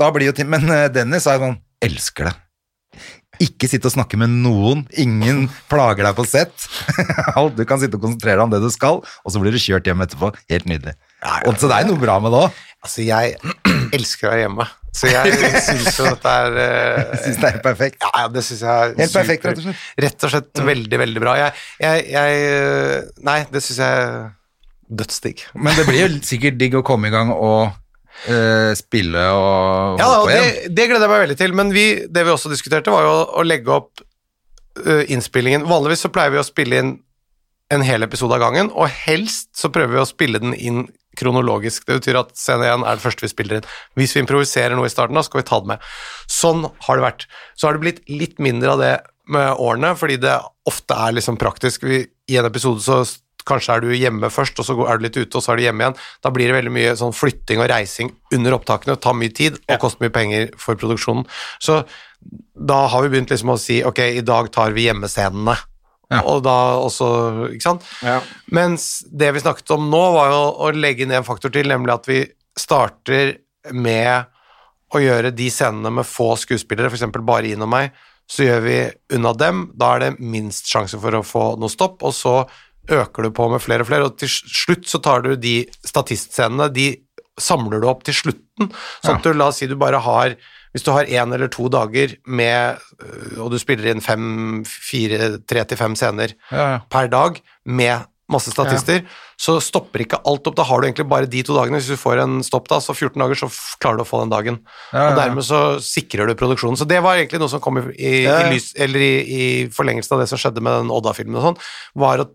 Da blir jo ting Men eh, Dennis er sånn Elsker det. Ikke sitte og snakke med noen. Ingen plager deg på sett. Alt- du kan sitte og konsentrere deg om det du skal, og så blir du kjørt hjem etterpå. Helt nydelig. Og så det er noe bra med det òg.
Altså, jeg elsker å være hjemme, så jeg syns jo dette er eh,
Syns det er perfekt.
Ja, ja, det syns jeg er
Helt perfekt,
super-
rett og slett.
Rett og slett Mm. veldig, veldig bra. Jeg, jeg, jeg eh, Nei, det syns jeg er dødsdigg.
Men det blir jo sikkert digg å komme i gang og eh, spille og
Ja, da,
holde
og
på igjen.
det, det gleder jeg meg veldig til, men vi, det vi også diskuterte, var jo å, å legge opp ø, innspillingen. Vanligvis så pleier vi å spille inn en hel episode av gangen, og helst så prøver vi å spille den inn kronologisk. Det betyr at scene 1 er det første vi spiller inn. Hvis vi improviserer noe i starten, da skal vi ta det med. Sånn har det vært. Så har det blitt litt mindre av det med årene, fordi det ofte er liksom praktisk. Vi, I en episode så s- kanskje er du hjemme først, og så går- er du litt ute, og så er du hjemme igjen. Da blir det veldig mye sånn flytting og reising under opptakene, tar mye tid og koster mye penger for produksjonen. Så da har vi begynt liksom å si ok, i dag tar vi hjemmescenene. Og da også, ikke sant? Mens det vi snakket om nå, var jo å legge ned en faktor til, nemlig at vi starter med å gjøre de scenene med få skuespillere, f.eks. bare Ine og meg, så gjør vi unna dem. Da er det minst sjanse for å få noe stopp, og så øker du på med flere og flere, og til slutt så tar du de statistscenene, de samler du opp til slutten, sånn at du, la oss si du bare har hvis du har én eller to dager med øh, Og du spiller inn fem, fire, tre til fem scener per dag med masse statister, så stopper ikke alt opp. Da har du egentlig bare de to dagene. Hvis du får en stopp da, så 14 dager, så f- klarer du å få den dagen. Og dermed så sikrer du produksjonen. Så det var egentlig noe som kom i, i, i, lys, eller i, i forlengelsen av det som skjedde med den Odda-filmen og sånn, var å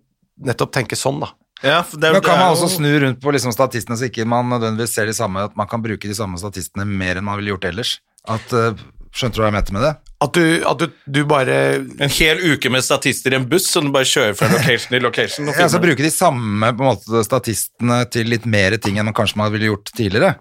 nettopp tenke sånn, da.
Ja, for det,
Men kan
det er
man
jo-
også snu rundt på liksom statistene, så ikke man nødvendigvis ser de samme, at man kan bruke de samme statistene mer enn man ville gjort ellers? At, eh, skjønte du hva jeg mente med det?
At du, at du, du bare
En hel uke med statister i en buss, så du bare kjører fra location til location. Og
Ja, så
filmer.
bruke de samme på en måte, statistene til litt mer ting enn man kanskje man ville gjort tidligere.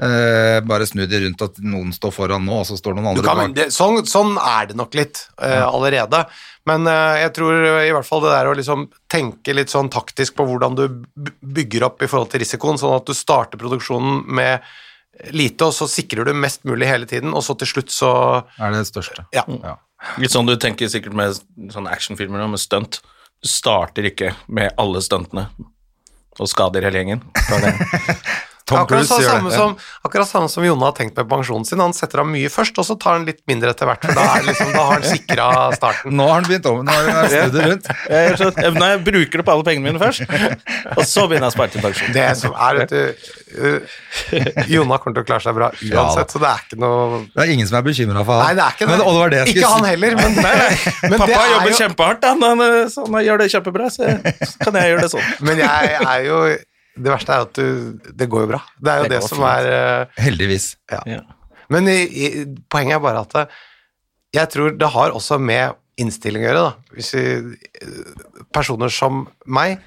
Eh, bare snu de rundt at noen står foran nå, og så står noen
Du
andre
kan,
bak.
det, sånn, sånn er det nok litt eh, allerede. Men eh, jeg tror eh, i hvert fall det der å liksom tenke litt sånn taktisk på hvordan du b- bygger opp i forhold til risikoen, sånn at du starter produksjonen med lite, og så sikrer du mest mulig hele tiden, og så til slutt så
Er det største.
Ja.
ja.
Litt sånn du tenker sikkert med sånne actionfilmer nå, med stunt. Du starter ikke med alle stuntene og skader hele gjengen. Det er det.
Tom
akkurat,
Cruise
så,
gjør
samme
det.
som, akkurat samme som Jonna har tenkt med pensjonen sin. Han setter av mye først, og så tar han litt mindre etter hvert, for da, er liksom, da har han sikra starten.
Nå har han begynt om, nå har han snudd det rundt.
Jeg, gjør sånn- jeg, nei, jeg bruker opp alle pengene mine først, og så begynner jeg å spare til pensjon.
Det som er, vet du eh, Jonna kommer til å klare seg bra
Ja.
uansett, så det er ikke noe
Det er ingen som er bekymra for
Nei,
han.
det er ikke det.
Men, og det var det jeg
ikke
skulle
han heller, men, men det
Pappa
er
jobber
jo-
kjempehardt, han, han, eh, så han gjør det kjempebra, så jeg- så kan jeg gjøre det sånn.
Men jeg er jo Det verste er jo at du Det går jo bra. Det er jo
Det
det,
går
som
fint.
er eh,
Heldigvis.
Ja.
Men i, i, poenget er bare at det, jeg tror det har også med innstilling å gjøre, da. Hvis vi, eh, personer som meg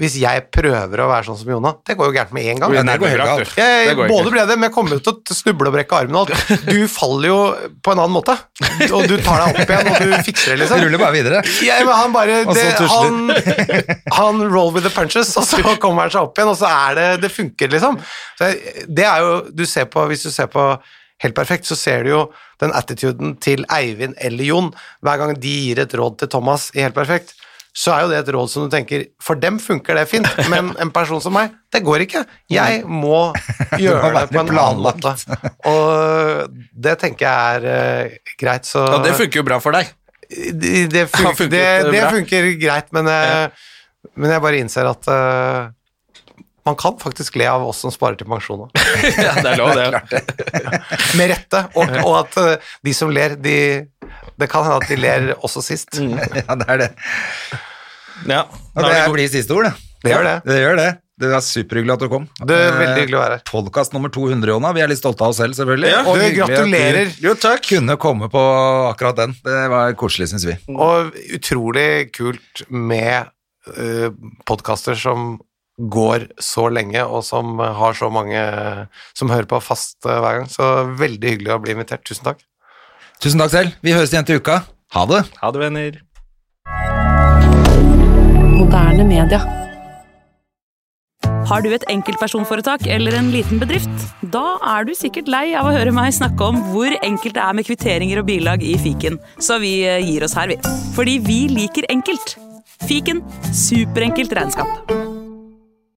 Hvis jeg prøver å være sånn som Jonna, det går jo gærent med en gang.
Ja, nei, det går helt galt.
Jeg,
Det går ikke.
både ble det, men jeg kommer jo til å t- snuble og brekke armen og alt. Du faller jo på en annen måte. Og du tar deg opp igjen, og du fikser det,
Vi
liksom.
ruller bare videre.
Ja, men han bare
Og så
det,
tusler.
han, han roll with the punches, og så kommer han seg opp igjen, og så er det Det funker, liksom. Så jeg- det er jo du ser på, Hvis du ser på Helt perfekt, så ser du jo den attituden til Eivind eller Jon. Hver gang de gir et råd til Thomas i Helt perfekt, så er jo det et råd som du tenker For dem funker det fint, men en person som meg, det går ikke. Jeg må gjøre
må
det
være
på en annen
planlagt.
måte. Og det tenker jeg er eh, greit, så
Ja, det funker jo bra for deg.
det, det,
Han
funker,
funket
det, det
bra.
funker greit, men jeg, men jeg bare innser at eh, man kan faktisk le av oss som sparer til pensjon òg.
Ja, det er lov, det.
Med rette. Og, og at eh, de som ler, de, Det kan hende at de ler også sist.
Mm.
Ja, det er det.
Ja,
Og det
da er
her
vi god-
blir siste ord, det.
Det gjør det.
Det gjør det. Det er superhyggelig at du kom.
Det
Eh,
er veldig hyggelig å være her.
Podkast nummer 200, Jonna. Vi er litt stolte av oss selv, selvfølgelig.
Ja.
Og
Du,
hyggelig at
gratulerer.
Jo, takk.
Kunne komme på akkurat den. Det var koselig, syns vi.
mm.
Og utrolig kult med uh, podkaster som går så lenge, og som har så mange som hører på fast eh, hver gang. Så veldig hyggelig å bli invitert. Tusen takk.
Tusen takk selv. Vi høres igjen til uka. Ha det.
Ha det, venner.
Moderne media.
Har du et enkeltpersonforetak eller en liten bedrift? Da er du sikkert lei av å høre meg snakke om hvor enkelt det er med kvitteringer og bilag i fiken, så vi eh, gir oss her, vi. Fordi vi liker enkelt. Fiken superenkelt regnskap.